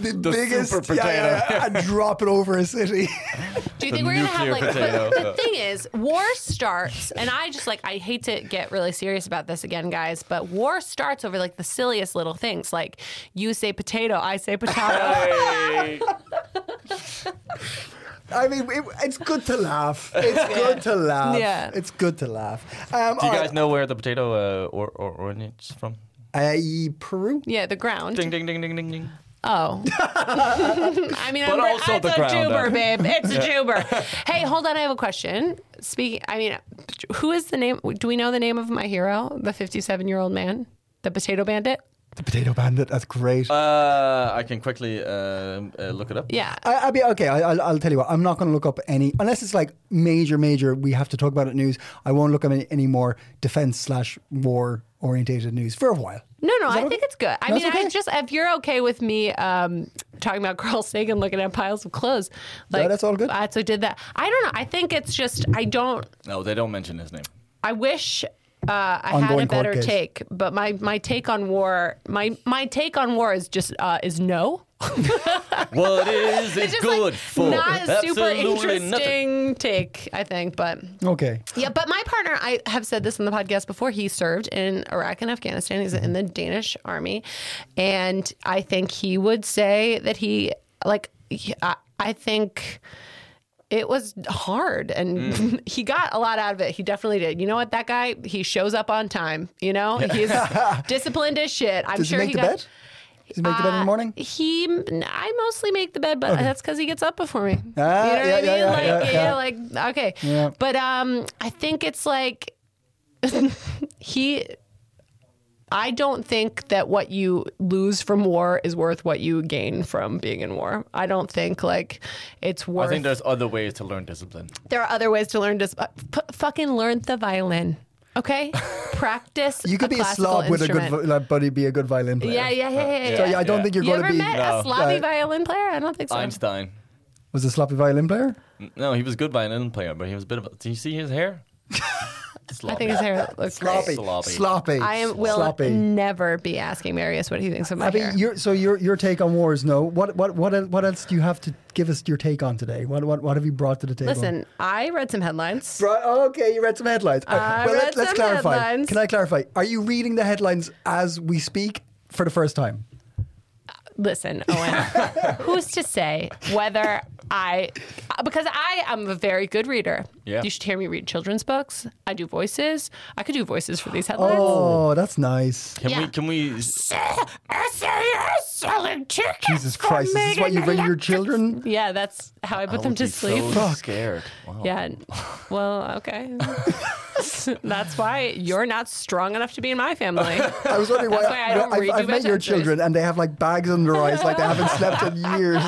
the, biggest
super
yeah, yeah, yeah, and drop it over a city?
Do you
The
think we're gonna have
nuclear
like?
potato.
But the thing is, war starts, and I just like I hate to get really serious about this again, guys, but war starts over like the silliest little things. Like you say potato, I say potato.
I mean, it, it's good to laugh. It's good to laugh.
Yeah.
It's good to laugh. Um,
Do you
all
guys know where the potato uh, or, or originates from?
right, uh, Peru?
yeah, the ground.
Ding ding ding ding ding ding.
Oh, I mean,
But
I'm,
also
it's
the
a
ground,
juber,
though.
babe. It's a juber. Hey, hold on, I have a question. Speaking, I mean, who is the name? Do we know the name of my hero, the 57 year old man, the potato bandit?
The Potato Bandit. That's great.
Uh, I can quickly uh, uh, look it up.
Yeah.
I, I'll be okay. I, I'll, I'll tell you what. I'm not going to look up any unless it's like major, major. We have to talk about it. News. I won't look up any, any more defense slash war orientated news for a while.
No, no,
Is
I
that
think
okay?
it's good. I
No,
mean,
it's okay?
I just if you're okay with me um, talking about girls naked and looking at piles of clothes, like
that's all good.
I so did that. I don't know. I think it's just I don't.
No, they don't mention his name.
I wish uh, I had a
Ongoing court
better
case.
take, but my my take on war my my take on war is just uh, is no.
What is it
It's just
good
like
for?
not a super
Absolutely
interesting
nothing.
take, I think, but
Okay.
Yeah, but my partner, I have said this on the podcast before. He served in Iraq and Afghanistan. He's in the Danish army, and I think he would say that he like. he- I, I think it was hard, and
Mm.
he got a lot out of it. He definitely did. You know what? That guy, he shows up on time. You know, he's disciplined as shit. I'm
Does
sure
he make the
got.
bed? Does he make the bed in the
Uh,
morning?
He, I mostly make the bed, but that's because he gets up before
Ah,
me. you know
yeah,
what I mean?
yeah, yeah,
like,
yeah, yeah.
like, okay.
Yeah.
But um, I think it's like he. I don't think that what you lose from war is worth what you gain from being in war. I don't think like it's
I
worth.
think there's other ways to learn discipline.
there are other ways to learn. Dis- uh, f- fucking learn the violin, okay? Practice.
You could be a
classical
slob with a good,
instrument.
vi- like, buddy, be a good violin player.
Yeah, yeah, yeah, yeah. yeah.
So yeah, I don't
Yeah.
think you're
you
going
ever
to be. Uh,
met a sloppy violin player? I don't think so.
Einstein.
Was a sloppy violin player?
No, he was good violin player, but he was a bit of. a... Do you see his hair?
I think his hair looks
Sloppy.
great.
Sloppy.
Sloppy.
I am, will
sloppy.
never be asking Marius what he thinks of my
Abby,
hair.
your, so your your take on war is no. What what what el- what else do you have to give us your take on today? What what what have you brought to the table?
Listen, I read some headlines.
Bro- oh, okay, you read some headlines. All right,
I
well,
read
let's
some
clarify.
headlines.
Can I clarify? Are you reading the headlines as we speak for the first time?
Listen, Owen, who's to say whether I, because I am a very good reader.
Yeah.
You should hear me read children's books. I do voices. I could do voices for these headlines.
Oh, that's nice.
Can we?
Yeah.
Can we?
SAS selling tickets.
Jesus Christ, is this what you bring your children?
Yeah, that's how I put them
would
to
be
sleep.
Oh, So
Fuck.
scared. Wow.
Oh.
Yeah. n- Well, okay. That's why you're not strong enough to be in my family.
I was wondering why,
That's why I don't
I've,
read you
I've met
my
your
chapters.
children and they have like bags under their eyes, like they haven't slept in years.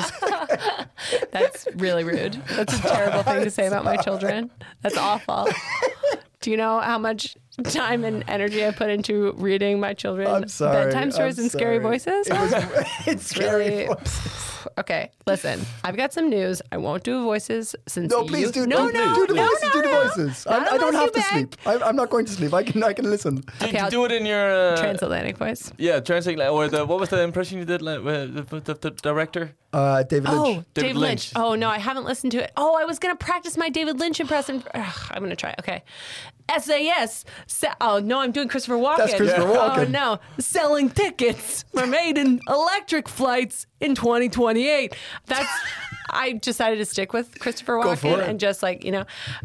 That's really rude. That's a terrible thing to say about my children. That's awful. Do you know how much time and energy I put into reading my children
I'm sorry.
bedtime stories
I'm
and scary
sorry.
voices?
It was, it's scary.
Really? Okay, listen. I've got some news. I won't do voices since
No, please
you-
do,
no,
do,
no,
do the
no,
voices.
no,
do the
no.
voices.
Not
I, I don't
unless
have to
you beg.
sleep. I, I'm not going to sleep. I can I can listen.
Did
Okay,
you
I'll-
do it in your uh,
Transatlantic voice.
Yeah, translate. Like, or the, what was the impression you did like, with the, the, the director?
Uh, David Lynch.
Oh, David,
David
Lynch.
Lynch.
Oh no, I haven't listened to it. Oh, I was gonna practice my David Lynch impression. Ugh, I'm gonna try. Okay, SAS. Se- oh no, I'm doing Christopher Walken.
That's Christopher
Oh
Walken.
no, selling tickets for maiden electric flights in 2028. That's. I decided to stick with Christopher
for
Walken
it.
and just like you know.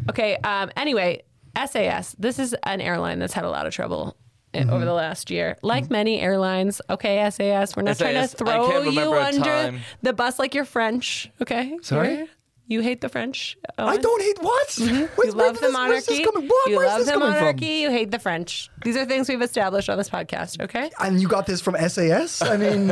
Okay. Um, anyway, SAS. This is an airline that's had a lot of trouble. i- Over the last year, like many airlines, okay, SAS, we're not trying to
SAS, I can't
throw you
remember a
under
time.
the bus like you're French, okay?
Sorry?
You're- You hate the French.
I
Owen?
don't hate what?
Mm-hmm. You
Where's,
love
where's
the
this- where's
monarchy.
this coming? What?
You
where's
love
this
the
coming
monarchy. You hate the French. These are things we've established on this podcast, okay?
from? And you got this from SAS? I mean,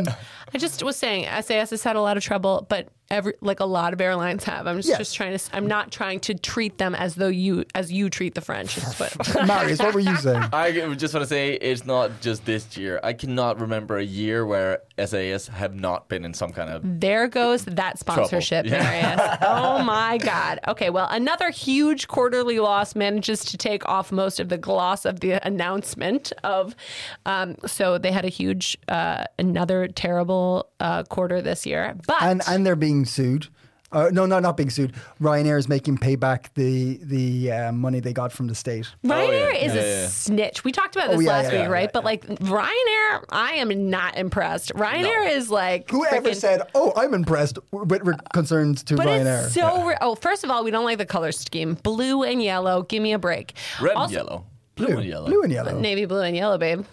I just was saying SAS has had a lot of trouble, but every like a lot of airlines have. I'm just,
Yes.
just trying to. s- I'm not trying to treat them as though you as you treat the French. Is what,
Marius, what were you saying?
I just want to say it's not just this year. I cannot remember a year where SAS have not been in some kind of.
There goes that sponsorship,
Yeah.
Marius. oh my God. Okay, well, another huge quarterly loss manages to take off most of the gloss of the announcement of. Um, so they had a huge, uh, another terrible uh, quarter this year, but
And and they're being sued. Uh, no, no, not being sued. Ryanair is making pay back the the uh, money they got from the state.
Ryanair
Oh, yeah.
is
Yeah,
a
yeah, yeah.
snitch. We talked about this
Oh, yeah,
last
yeah,
week,
yeah,
right? but like Ryanair, I am not impressed. Ryanair is like
Whoever
frickin-
said, "Oh, I'm impressed," with re- concerns to
But
Ryanair.
it's so. Re- oh, first of all, we don't like the color scheme. Blue and yellow. Give me a break.
Red
Also-
and yellow. Blue,
blue,
and yellow.
Oh. blue and yellow.
Navy blue and yellow, babe.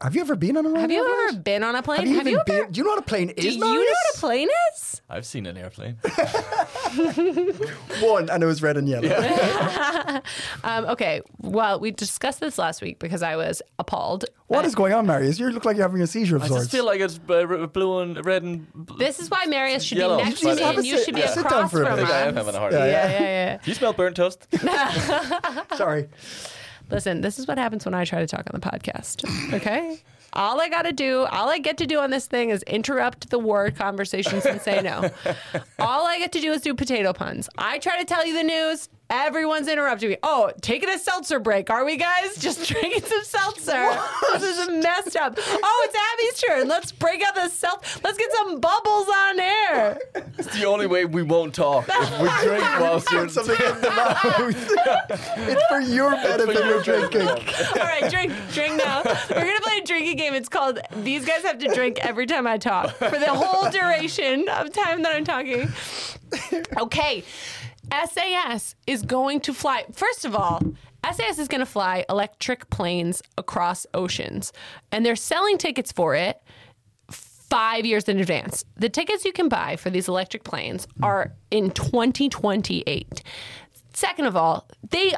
Have you ever been on a
Have you
rollerblade?
ever been on a plane?
Oh Have you, even
ever?
been? Do you know what a plane
do
is?
you know what a
Marius?
plane is?
I've seen an airplane.
One, and it was red and yellow.
Um, okay. Well, we discussed this last week because I was appalled.
What
Uh,
is going on, Marius? You look like you're having a seizure of
I
sorts.
just feel like it's uh, r- blue and red and. bl-
This is why Marius should
Yellow.
be next
You
to
just
me
have
and
a
you
sit-
should be
yeah. Sit
across
down for a
from
I
bit.
think I am
us.
having a heart
Yeah,
attack.
yeah, yeah, yeah.
You smell burnt toast.
Sorry.
Listen, this is what happens when I try to talk on the podcast. Okay. All I got to do, all I get to do on this thing is interrupt the war conversations and say no. all I get to do is do potato puns. I try to tell you the news. Everyone's interrupting me. Oh, taking a seltzer break. Are we guys just drinking some seltzer? This is messed up. Oh, it's Abby's turn. Let's break out the self. Let's get some bubbles on air.
It's the only way we won't talk. If we drink whilst you're.
Put something in the mouth. it's for your benefit you're drinking.
All right, drink, drink now. We're gonna play a drinking game. It's called "These guys have to drink every time I talk" for the whole duration of time that I'm talking. Okay, SAS is going to fly. First of all. SAS is going to fly electric planes across oceans, and they're selling tickets for it five years in advance. The tickets you can buy for these electric planes are in 2028. Second of all, they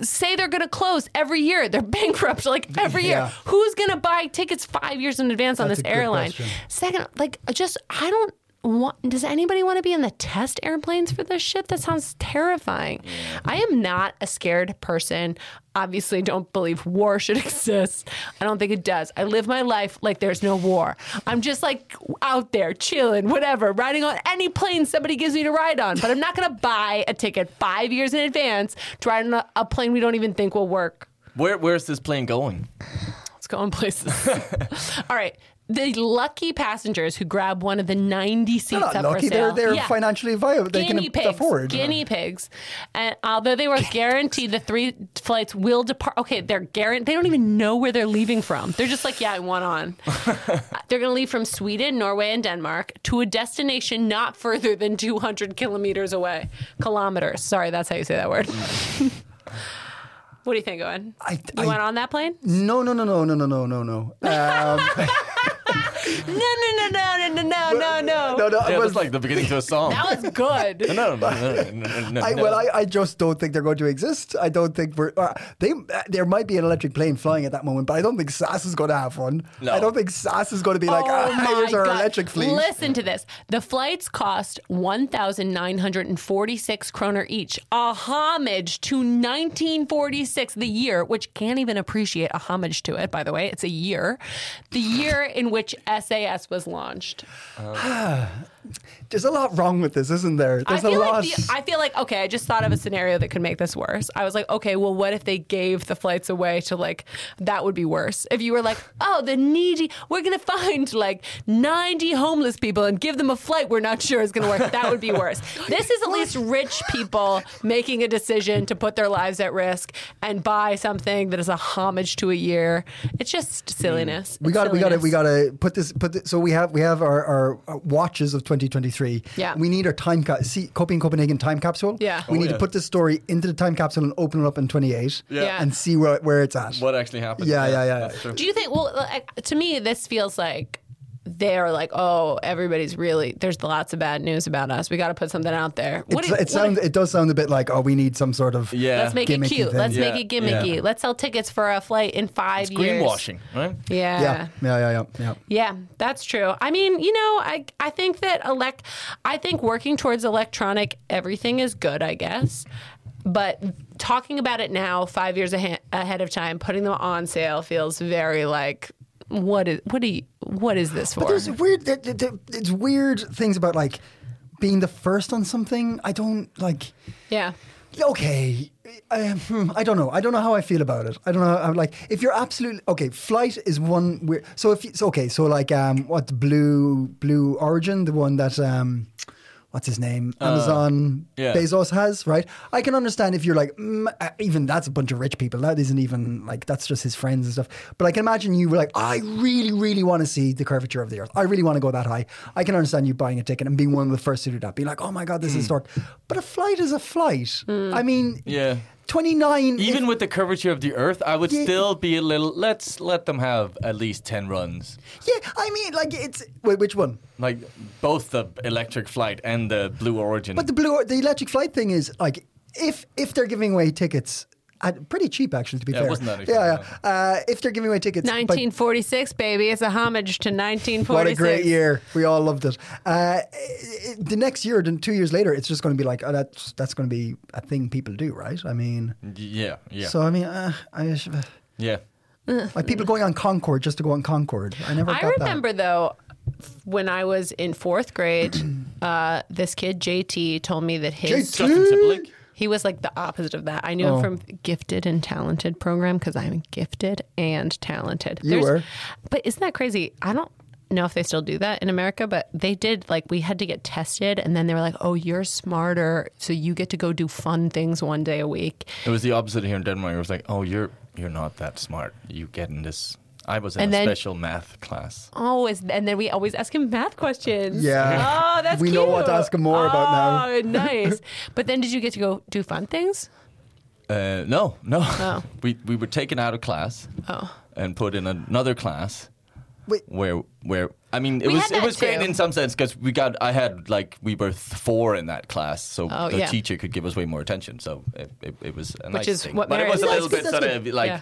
say they're going to close every year. They're bankrupt like every
Yeah.
year. Who's going to buy tickets five years in advance on
That's
this
a good
airline?
question.
Second, like, just, I don't want, does anybody want to be in the test airplanes for this shit? That sounds terrifying. I am not a scared person. Obviously, don't believe war should exist. I don't think it does. I live my life like there's no war. I'm just like out there chilling, whatever, riding on any plane somebody gives me to ride on. But I'm not going to buy a ticket five years in advance to ride on a, a plane we don't even think will work.
Where, where's this plane going?
It's going places. All right. The lucky passengers who grab one of the 90 seats
They're not
up
lucky.
for sale.
They're, they're
Yeah.
financially viable. They
Guinea
can
pigs,
afford.
guinea pigs, and although they were guaranteed the three flights will depart, okay, they're guaranteed. They don't even know where they're leaving from. They're just like, yeah, I want on. Uh, they're going to leave from Sweden, Norway, and Denmark to a destination not further than 200 kilometers away, kilometers. Sorry, that's how you say that word. what do you think, Owen?
I-
you
I-
went on that plane?
No, no, no, no, no, no, no, no, no. Um,
No, no, no, no, no, no, no, no,
uh, no, no.
no.
Yeah,
well,
that's like the beginning to a song.
That was good.
No, no, no, no, no, no, no.
I, well, I, I just don't think they're going to exist. I don't think we're uh, they. Uh, there might be an electric plane flying at that moment, but I don't think SAS is going to have one.
No.
I don't think SAS is going to be like,
Oh
ah,
my
here's our
God.
electric fleet.
Listen to this. The flights cost 1,946 kroner each, a homage to 1946, the year, which can't even appreciate a homage to it, by the way. It's a year, the year in which SAS was launched.
There's a lot wrong with this, isn't there? There's
I
a
feel
lot.
like the, I feel like okay. I just thought of a scenario that could make this worse. I was like, okay, well, what if they gave the flights away to like that would be worse. If you were like, oh, the needy, we're gonna find like ninety homeless people and give them a flight we're not sure is gonna work. That would be worse. This is at least rich people making a decision to put their lives at risk and buy something that is a homage to a year. It's just silliness.
Mm. we got we got to we got to put this put this, so we have we have our, our, our watches of 2023.
Yeah.
We need our time ca- see Coping Copenhagen time capsule.
Yeah.
We
Oh,
need
yeah.
to put this story into the time capsule and open it up in 28.
Yeah.
And see where where it's at.
what actually happened?
Yeah, yeah, yeah.
that's true.
Do you think? Well, like, to me, this feels like they're like, oh, everybody's really there's lots of bad news about us. We got to put something out there.
It's-
What if-
it
what if-
sounds it does sound a bit like oh we need some sort of
Yeah.
Let's make it
gimmicky
cute.
thing.
Let's
Yeah,
make it gimmicky.
yeah.
Let's sell tickets for a flight in five years.
Greenwashing, right?
yeah
Yeah. yeah.
yeah yeah yeah. yeah.
that's true. I mean, you know, I I think that elect I think working towards electronic everything is good, I guess. But talking about it now, five years ahe- ahead of time, putting them on sale feels very like, what is what do you, what is this for?
There's weird. There, there- there- it's weird things about like being the first on something. I don't like.
Yeah.
Okay, I, hmm, I don't know. I don't know how I feel about it. I don't know. I'm like, if you're absolutely okay, flight is one weird. So if you, so, okay, so like um, what blue blue origin, the one that um, what's his name, Amazon
yeah.
Bezos has, right? I can understand if you're like, mm, uh, even that's a bunch of rich people. That isn't even like that's just his friends and stuff. But I can imagine you were like, I really, really want to see the curvature of the Earth. I really want to go that high. I can understand you buying a ticket and being
Mm.
one of the first to do that. Be like, oh my god, this is dark. But a flight is a flight. I mean,
Yeah.
29.
Even
if-
with the curvature of the Earth, I would
Yeah.
still be a little. Let's let them have at least ten runs,
yeah, I mean, like, it's. Wait, which one?
like both the electric flight and the Blue Origin.
But the blue, the electric flight thing is like if if they're giving away tickets. At pretty cheap, actually, to be
Yeah, it
fair.
wasn't that
yeah,
expensive,
yeah. Uh, if they're giving away tickets, by-
1946, baby. It's a homage to 1946.
what a great year! We all loved it. Uh, i- i- the next year, then two years later, it's just going to be like oh, that's that's going to be a thing people do, right? I mean,
yeah, yeah,
so I mean, uh, I sh-
yeah.
like people going on Concord just to go on Concord. I never.
I
got
remember though, when I was in fourth grade, uh, this kid JT told me that
that.
his
Justin Timberlake.
he was like the opposite of that. I knew
Oh.
him from gifted and talented program because I'm gifted and talented.
You were.
but isn't that crazy? I don't know if they still do that in America, but they did. Like we had to get tested, and then they were like, "Oh, you're smarter, so you get to go do fun things one day a week."
It was the opposite here in Denmark. It was like, oh, you're you're not that smart. You get in this. I was in
And
a
then-
special math class.
Oh, is, and then we always ask him math questions.
Yeah.
Oh, that's
We know what to
cute.
ask him more about now.
Oh, nice. But then did you get to go do fun things?
Uh, no, no.
Oh.
We we were taken out of class
Oh.
and put in another class.
Wait.
Where where I mean it
We
was
had
it
that
was great
too.
in some sense because we got I had like we were th- four in that class so
Oh,
the
yeah.
teacher could give us way more attention so it, it, it was a
Which
nice
is
thing
what
but it was a
Mary-
little
That's good,
bit sort
that's
of like
Yeah.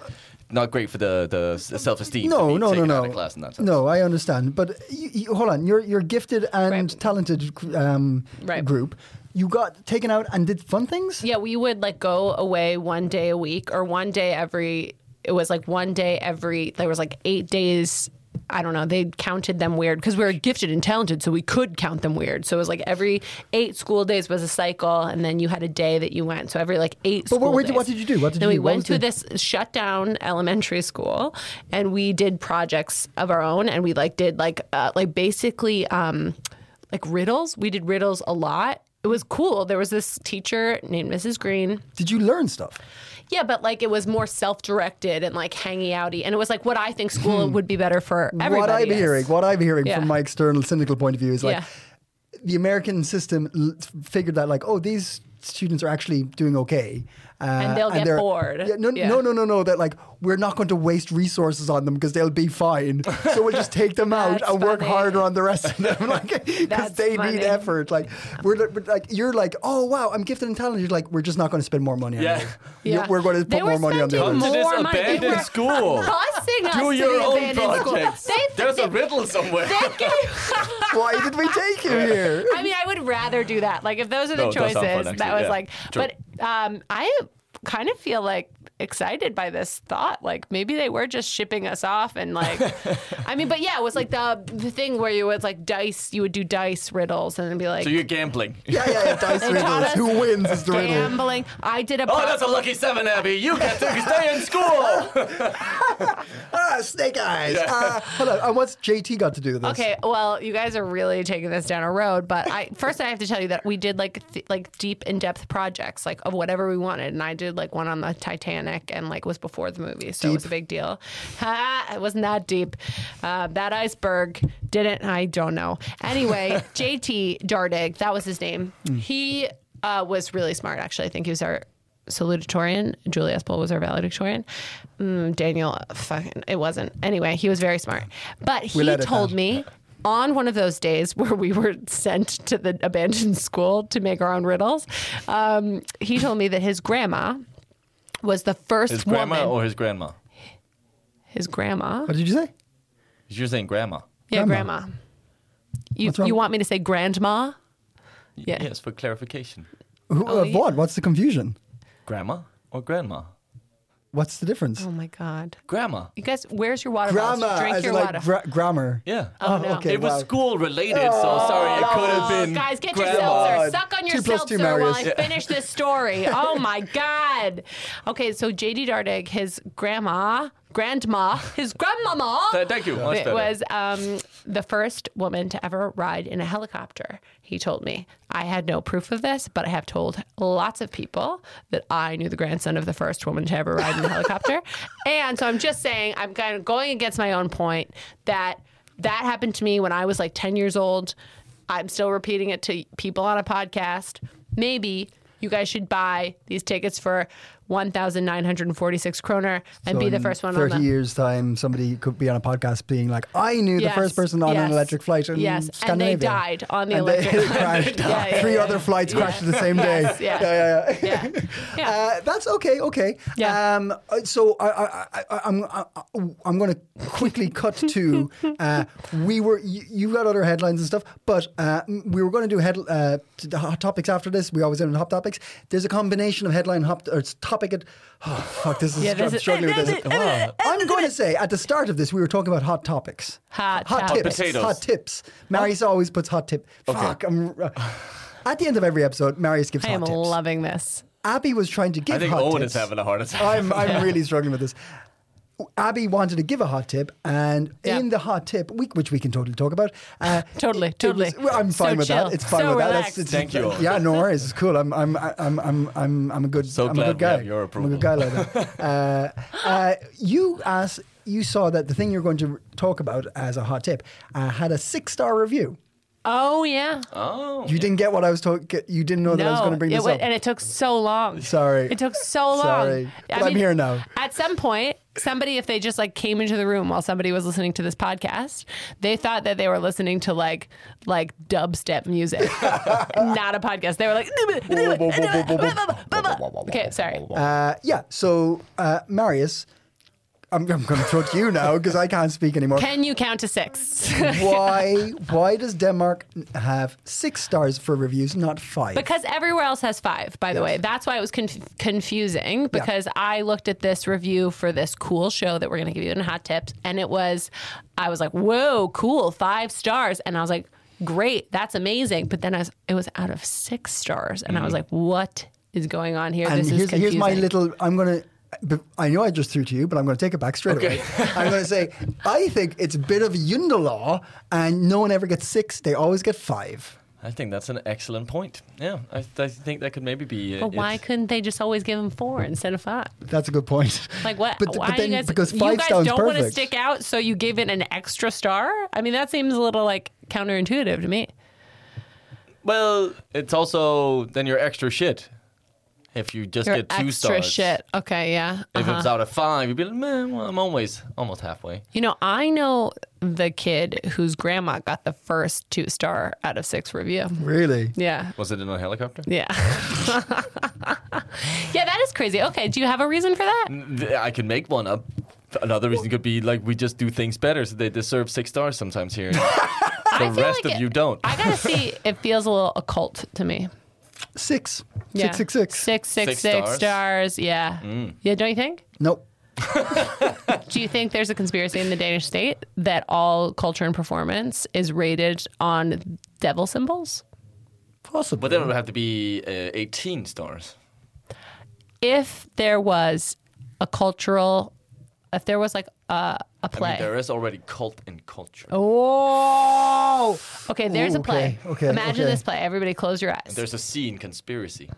not great for the the self esteem
No,
to
no,
be
no,
taken out
no,
of class in that sense.
no. I understand, but you, you, hold on. You're you're gifted and
Right.
talented um,
Right.
group. You got taken out and did fun things.
Yeah, we would like go away one day a week or one day every. It was like one day every. There was like eight days. I don't know. They counted them weird because we were gifted and talented, so we could count them weird. So it was like every eight school days was a cycle, and then you had a day that you went. So every like eight.
But what-
school
what-
days.
what did you do? What did
Then
you
we
do? What
went
was
to
the-
this shut down elementary school, and we did projects of our own, and we like did like uh, like basically. um like riddles. We did riddles a lot. It was cool. There was this teacher named Mrs. Green.
Did you learn stuff?
Yeah, but like it was more self-directed and like hangy outy, and it was like what I think school would be better for everybody.
Hmm. what I'm
is.
hearing, what I'm hearing
Yeah.
from my external cynical point of view is like
Yeah.
the American system l- figured that like, oh, these students are actually doing okay, uh, and
they'll get
they're-
bored.
Yeah, no,
Yeah.
no, no, no, no. That like we're not going to waste resources on them because they'll be fine. so we'll just take them out
That's
and work
funny.
harder on the rest of them, like because
That's
they
funny.
need effort. Like we're, li- we're, like you're like, oh wow, I'm gifted and talented. You're like, we're just not going to spend more money. on
Yeah.
you. You're- We're going to
They
put
were
more money on the
spending
others.
To this
more money. They
abandoned
were
school.
Busing us
do
to
your
the
own
abandoned school.
projects
They-
there's a
they-
riddle somewhere
they gave-
Why did we take you here?
I mean, I would rather do that. Like, if those are the
No, it does
choices,
sound fun,
that
actually.
was
Yeah.
like.
True.
But um, I kind of feel like excited by this thought. Like, maybe they were just shipping us off, and like, I mean, but yeah, it was like the the thing where you was like dice. You would do dice riddles, and it'd be like.
so you're gambling
Yeah, yeah, yeah. Dice
They
riddles.
taught us
Who wins is the riddle.
Gambling. I did a.
oh that's a lucky seven Abby you get to stay in school
ah, snake eyes. Ah, hold on. And what's JT got to do with this?
Okay, well, you guys are really taking this down a road, but I first I have to tell you that we did like th- like deep in depth projects like of whatever we wanted, and I did like one on the Titanic and like was before the movie, so it was a big deal. Ha, it wasn't that deep. Uh, that iceberg didn't. I don't know. Anyway, JT Dardig, that was his name. He uh, was really smart. Actually, I think he was our salutatorian. Julie Espel was our valedictorian. Mm, Daniel, fucking, it wasn't. Anyway, he was very smart. But
We'll
he
edit
told
that.
me on one of those days where we were sent to the abandoned school to make our own riddles, um, he told me that his grandma was the first
his
woman.
grandma or his grandma
his grandma.
What did you say?
you're saying grandma
Yeah,
Grandma.
grandma. You,
What's wrong?
you want me to say grandma? Yeah.
yes for clarification
Who,
Oh,
uh,
yeah.
What? What's the confusion?
grandma or grandma
What's the difference?
Oh my God.
grandma
You guys, where's your water bottles?
Grammar.
Drink
as
your
like
water.
gra- grammar.
yeah
Oh, no.
okay.
It was
wow.
school related, so sorry, it could have been.
Oh, Guys, get
grandma.
your seltzer. Suck on your
Two plus two,
seltzer while I
Marius.
finish this story. Oh my God. Okay, so JD Dardig, his grandma, grandma, his grandmama.
Th- thank you. Much
it
better.
was um, the first woman to ever ride in a helicopter. He told me. I had no proof of this, but I have told lots of people that I knew the grandson of the first woman to ever ride in a helicopter. And so I'm just saying, I'm kind of going against my own point that that happened to me when I was like 10 years old. I'm still repeating it to people on a podcast. Maybe you guys should buy these tickets for 1,946 kroner and
So
be the
in
first one on
Thirty
the
years time, somebody could be on a podcast being like, "I knew
Yes,
the first person on
yes,
an electric flight in
yes, and
Scandinavia."
they died on the
And they-
electric.
crashed.
Yeah, yeah,
Three
yeah.
other flights
Yeah.
crashed the same day.
Yes, yeah.
yeah, yeah. yeah.
yeah. yeah.
Uh, that's okay. Okay.
Yeah.
Um, uh, so I, I, I- I, I'm I, I'm going to quickly cut to uh, we were you, you got other headlines and stuff, but uh, m- we were going to do head uh, t- the hot topics after this. We always end on hot topic. There's a combination of headline hop or it's topic. At, oh fuck, this is
Yeah,
I'm
this is-
struggling with this. I'm going to say at the start of this we were talking about hot topics,
Hot
tips,
topics.
Potatoes.
hot tips. Marius always puts hot tip. Fuck, I'm. Uh, at the end of every episode, Marius gives
I
hot
am
tips.
loving this.
Abby was trying to give
I think
hot
Owen
tips.
is having a heart attack.
I'm, I'm really struggling with this. Abby wanted to give a hot tip, and
Yeah.
in the hot tip, we, which we can totally talk about. Uh,
Totally,
it- it
totally.
was- well, I'm
So
fine with
chill,
that. It's fine
so
with
relaxed.
that. That's,
Thank you.
Yeah, no worries. It's cool. I'm, I'm, I'm, I'm, I'm, I'm a good,
So
I'm
glad
a
we
good guy.
have your
I'm a good guy like that. Uh, uh, you asked, you saw that the thing you're going to talk about as a hot tip uh, had a six star review.
Oh yeah.
Oh.
You didn't get what I was talking. You didn't know that I was going to bring
it
this
wa-
up.
and it took so long.
Sorry.
it took so long.
Sorry. But I'm here now.
At some point, somebody, if they just like came into the room while somebody was listening to this podcast, they thought that they were listening to like like dubstep music, not a podcast. They were like, okay, sorry.
Uh, yeah. So, uh, Marius, I'm, I'm going to throw it to you now because I can't speak anymore.
Can you count to six?
why? Why does Denmark have six stars for reviews, not five?
Because everywhere else has five, by the way. That's why it was conf- confusing because I looked at this review for this cool show that we're going to give you in Hot Tips, and it was, I was like, whoa, cool, five stars. And I was like, great, that's amazing. But then I was, it was out of six stars, and I was like, what is going on here?
Mm-hmm. and
this is
here's,
confusing.
here's my little. I'm going to. I know I just threw to you, but I'm going to take it back straight away. I'm going to say I think it's a bit of Yundalaw, and no one ever gets six; they always get five.
I think that's an excellent point. Yeah, I, th- I think that could maybe be. Uh,
But why
it.
couldn't they just always give them four instead of five?
That's a good point.
Like what?
But,
why
but then
you guys,
because
you
five
guys
sounds
don't want to
perfect.
stick out, so you give it an extra star? I mean, that seems a little like counterintuitive to me.
Well,
It's also then you're extra shit
if you just
You're
get two
extra
stars,
shit. Okay, yeah.
if
Uh-huh.
it's out of five, you'd be like, man, well, I'm always almost halfway.
You know, I know the kid whose grandma got the first two star out of six review.
really?
Yeah.
Was it in a helicopter?
Yeah. yeah, that is crazy. Okay, do you have a reason for that?
Th- I could make one up. Another reason could be like we just do things better, so they deserve six stars sometimes here. the
feel like
rest of
it-
you don't.
I gotta see, it feels a little occult to me.
Six.
Yeah.
Six, six, six.
Six, six,
Six
six
stars. Mm.
stars. Yeah. Yeah, don't you think?
Nope.
Do you think there's a conspiracy in the Danish state that all culture and performance is rated on devil symbols?
Possible.
But then it would have to be uh, 18 stars.
if there was a cultural, if there was like a, a
I
play.
mean, there is already cult and culture.
oh, okay. There's
Ooh,
a play.
okay, okay,
Imagine
okay.
this play. Everybody, close your eyes.
There's a scene conspiracy.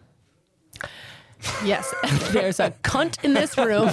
yes, there's a cunt in this room.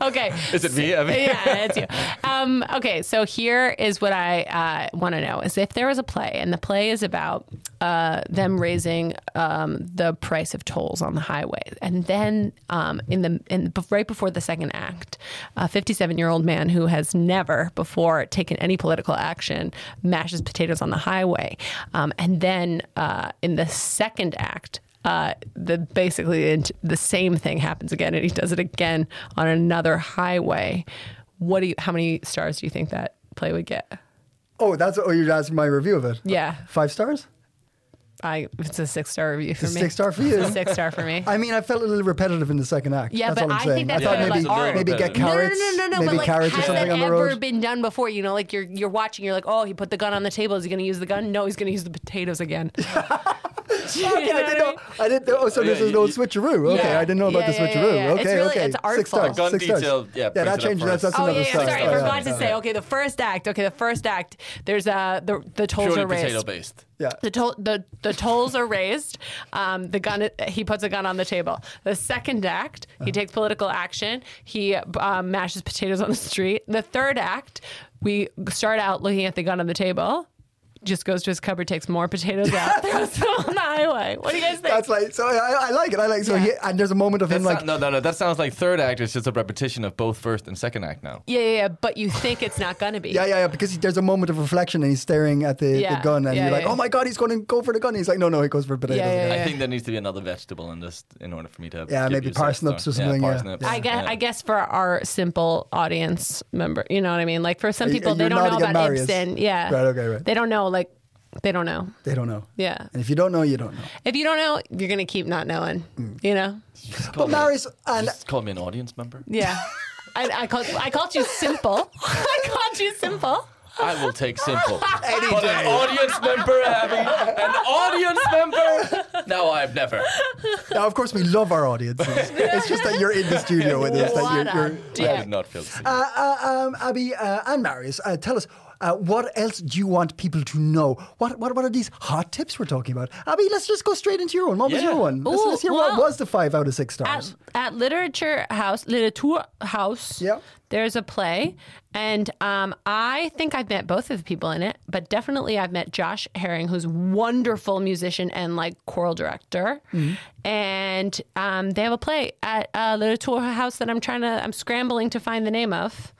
okay.
Is it me? I mean,
yeah, it's you. Um, okay, so here is what I uh, want to know: is if there was a play, and the play is about uh, them raising um, the price of tolls on the highway, and then um, in the in right before the second act, a 57-year-old man who has never before taken any political action mashes potatoes on the highway, um, and then uh, in the second act uh, the basically it- the same thing happens again, and he does it again on another highway. What do you? How many stars do you think that play would get?
Oh, that's oh, you're asking my review of it.
Yeah.
Five stars.
I it's a six star review for
a
me.
six-star for you.
It's a six star for me.
I mean, I felt a little repetitive in the second act.
Yeah,
that's
but
all I'm
I
saying.
think that's
I thought
kind of
maybe,
like art.
maybe get
No, no, no,
carrots,
no, no, no.
maybe
But like,
carrots or
has that
something on the
ever
road.
been done before? You know, like you're you're watching, you're like, oh, he put the gun on the table. Is he going to use the gun? No, he's going to use the potatoes again. okay,
Okay, I didn't know. I didn't. Oh, so this
Yeah,
is no
you-
switcheroo. Okay,
Yeah.
I didn't know about the
Yeah, yeah, yeah,
switcheroo.
yeah. It's
Okay,
really-
okay.
it's
Six
artful.
stars.
Gun
six stars.
detail, yeah, brings
that
it up
changes. That's,
first.
that's
Oh
another
yeah, yeah,
star.
sorry,
Yeah,
I
yeah.
forgot to say. Okay, the first act. Okay, the first act. There's uh the the tolls
Purely
are raised.
potato based.
Yeah.
The, toll the the tolls are raised. Um, the gun he puts a gun on the table. The second act,
Uh-huh.
he takes political action. He um, mashes potatoes on the street. The third act, we start out looking at the gun on the table. just goes to his cupboard, takes more potatoes out, throws them on the highway. What do you guys think?
That's like so. I, I like it. I like so.
Yeah.
He, and there's a moment of
That
him like
sound- no, no, no. That sounds like third act is just a repetition of both first and second act now.
yeah, yeah, yeah. But you think it's not gonna be.
Yeah, yeah, yeah. Because he- there's a moment of reflection and he's staring at the,
Yeah,
the gun and
yeah,
you're like,
yeah.
oh my God, he's going to go for the gun. He's like, no, no, he goes for potatoes.
Yeah, yeah,
I
yeah.
think there needs to be another vegetable in this in order for me to.
Yeah,
give
maybe
you sort of
parsnips or
stuff.
something, yeah.
parsnips.
Yeah.
I guess, I guess for our simple audience member, you know what I mean? Like for some
Are you-
people,
are
they
you
don't know
Uh, nodding at
about
Marius?
Ibsen. Yeah.
Right, okay, right.
They don't know, like, they don't know.
They don't know.
Yeah.
And if you don't know, you don't know.
If you don't know, you're going to keep not knowing,
Mm.
you know?
Just call
But
me-
Marius and
just call me an audience member.
Yeah. I, I, called, I called you simple. I called you simple.
I will take simple.
Any
but an
day.
audience member having an audience member. No, I've never.
now, of course, we love our audiences. it's just that you're in the studio with us.
What
That you're,
a
you're,
I
dick.
did not feel. seen.
uh, uh, um, Abby uh, and Marius, uh, tell us. Uh, what else do you want people to know? What, what what are these hot tips we're talking about? Abby, let's just go straight into your one. What was
Yeah.
your one? Let's,
Ooh,
let's hear what
well-
was the five out of six stars.
at, at Literature House, Literature House,
Yeah.
there's a play. And um, I think I've met both of the people in it, but definitely I've met Josh Herring, who's wonderful musician and like choral director.
Mm-hmm.
And um, they have a play at uh, Literature House that I'm trying to, I'm scrambling to find the name of.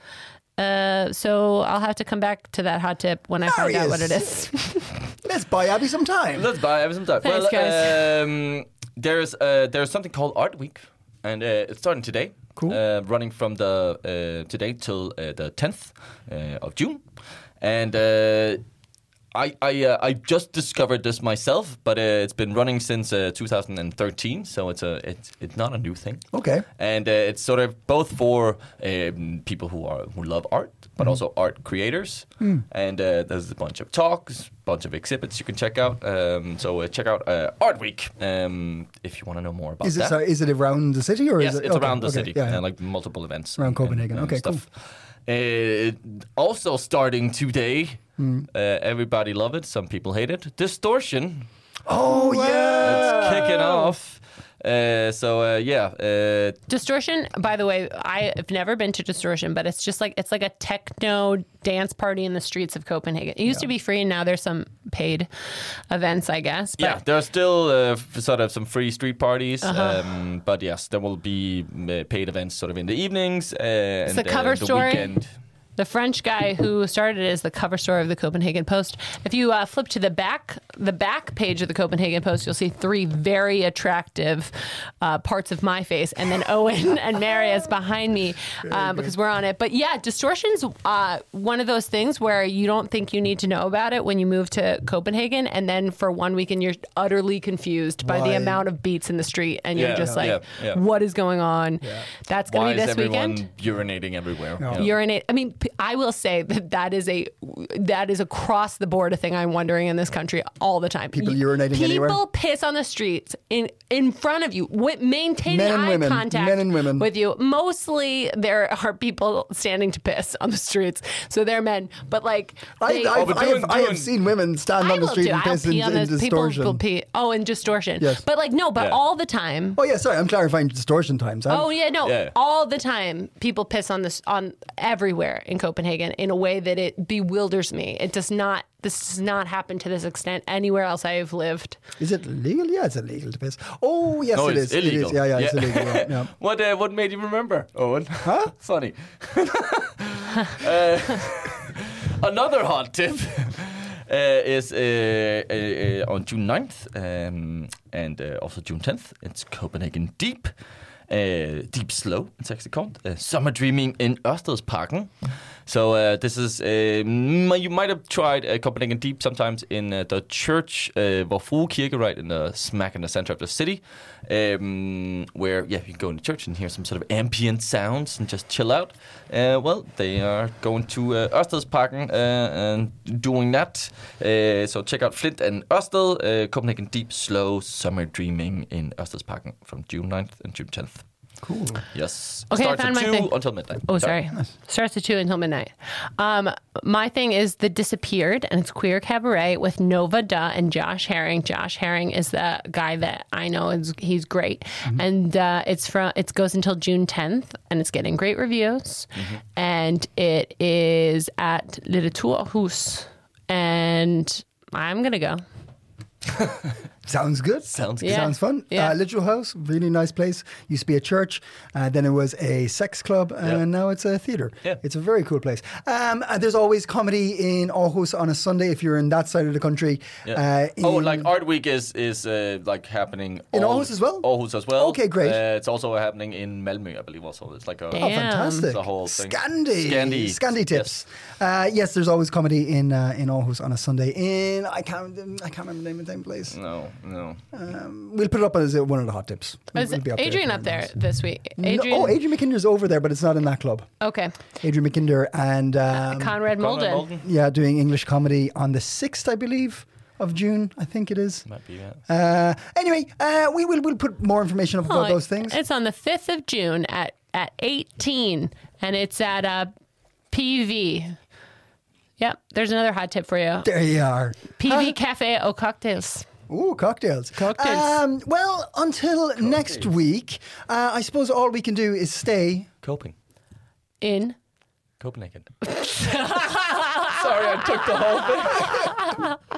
Uh, so I'll have to come back to that hot tip when I find out what it is.
let's buy Abby some time.
Let's buy have some time.
Thanks,
well,
guys.
Um, there's uh, there's something called Art Week, and uh, it's starting today.
Cool.
Uh, running from the uh, today till uh, the 10th uh, of June, and. Uh, I I, uh, I just discovered this myself, but uh, it's been running since uh, 2013, so it's a it's it's not a new thing.
Okay.
and uh, it's sort of both for um, people who are who love art, but
Mm-hmm.
also art creators.
Mm.
And uh, there's a bunch of talks, bunch of exhibits you can check out. Um, so uh, check out uh, Art Week um, if you want to know more about
Is it
that.
sorry, is it around the city or
yes,
is it
it's
okay,
around the
okay,
city,
yeah, yeah.
uh, like multiple events
Around
and-
Copenhagen.
and,
Okay, cool.
stuff. Uh, also starting today,
Mm.
uh, everybody love it. Some people hate it. Distortion
oh yeah.
it's kicking off. Uh, so uh, yeah, uh,
Distortion, by the way, I have never been to Distortion, but it's just like it's like a techno dance party in the streets of Copenhagen. It used to be free, and now there's some paid events, I guess. But
yeah, there are still uh, f- sort of some free street parties,
Uh-huh.
um, but yes, there will be mm, uh, paid events sort of in the evenings. Uh, and,
the cover
uh, the
story.
Weekend.
The French guy who started it is the cover story of the Copenhagen Post. If you uh, flip to the back, the back page of the Copenhagen Post, you'll see three very attractive uh, parts of my face, and then Owen and Marius behind me uh, because we're on it. But yeah, distortion's uh, one of those things where you don't think you need to know about it when you move to Copenhagen, and then for one weekend you're utterly confused by
Why?
the amount of beats in the street, and you're
Yeah,
just like,
yeah, yeah.
"What is going on?" That's
Why
going to be
is
this
everyone
weekend
urinating everywhere?
No.
Yeah.
urinate. I mean, p- I will say that that is a that is across the board a thing I'm wondering in this country all the time.
People
You-
urinating
people
anywhere?
piss on the streets in in front of you, wi- maintaining
Men and
eye
women.
contact
Men and women.
with you. Mostly there are people standing to piss on the streets, so they're men. But like,
I,
they-
I,
Oh, but
I, have,
doing-
I have
doing-
seen women stand
I
on the
will
street
do.
and
I'll
piss in,
pee on
in
those
distortion.
People will pee. Oh, in distortion.
Yes.
But like, no, but
Yeah.
all the time.
Oh yeah, sorry, I'm clarifying distortion times. I'm,
Oh yeah, no,
Yeah.
all the time people piss on this on everywhere in Copenhagen in a way that it bewilders me. It does not. This does not happen to this extent anywhere else I have lived.
Is it legal? Yeah, it's illegal to piss. Oh yes,
No,
it
it's
is. It is.
illegal.
Yeah, yeah, it's
Yeah.
illegal. Yeah, yeah.
What uh, what made you remember, Owen? Huh? Funny. Uh, another hot tip uh, is uh, uh, uh, on June 9th um, and uh, also June 10th. It's Copenhagen Deep. Uh, deep Slow, it's actually called. Uh, Summer Dreaming in Ørstedsparken. So uh, this is, uh, m- you might have tried uh, Copenhagen Deep sometimes in uh, the church, uh, Vor Frue Kirke, right in the smack in the center of the city, um, where, yeah, you can go into church and hear some sort of ambient sounds and just chill out. Uh, well, they are going to uh, Ørstedsparken uh, and doing that. Uh, so check out Flint and Ørsted, uh, Copenhagen Deep Slow Summer Dreaming in Ørstedsparken from June 9th and June 10th.
Cool.
Yes.
Okay, I
Starts
found
at
my
2
thing.
until midnight.
Oh, sorry. Starts at two until midnight. Um, my thing is the disappeared, and it's queer cabaret with Nova Duh and Josh Herring. Josh Herring is the guy that I know is he's great,
Mm-hmm.
and uh, it's from it goes until June tenth, and it's getting great reviews,
Mm-hmm.
and it is at Little Tour Hus, and I'm gonna go.
Sounds good.
Sounds
Yeah.
Sounds fun.
Yeah.
Uh, Literal House, really nice place. Used to be a church, uh, then it was a sex club, and
Yeah.
now it's a theater.
Yeah.
It's a very cool place. Um, and there's always comedy in Aarhus on a Sunday if you're in that side of the country.
Yeah.
Uh,
oh,
in-
like Art Week is is uh, like happening
In
all-
Aarhus as well?
Aarhus as well.
Okay, great.
Uh, it's also happening in Malmö, I believe. Also, it's like a
Oh,
Damn.
fantastic!
The whole thing.
Scandi,
Scandi.
Scandi tips. Uh, yes, there's always comedy in uh, in Aarhus on a Sunday. In I can't I can't remember the name of the damn place.
no, Oh, no.
We'll put it up as uh, one of the hot tips.
Oh, Is
It'll be up
Adrian
for
up there
everyone
this week?
else.
Adrian.
No, oh, Adrian McKinder's over there, but it's not in that club.
Okay.
Adrian McKinder and
Uh,
um,
Conrad
Conrad
Molden.
Molden?
yeah, doing English comedy on the sixth, I believe, of June. I think it is.
Might be, yeah.
Uh, anyway, uh, we will we'll put more information up about
Oh,
those things.
It's on the 5th of June at, at 18, and it's at uh, PV. Yep, there's another hot tip for you.
There you are.
PV Cafe O Cocktails.
Ooh, cocktails.
Cocktails.
Um, well, until next week, uh, I suppose all we can do is stay.
Coping,
In
Copenhagen. Sorry, I took the whole thing.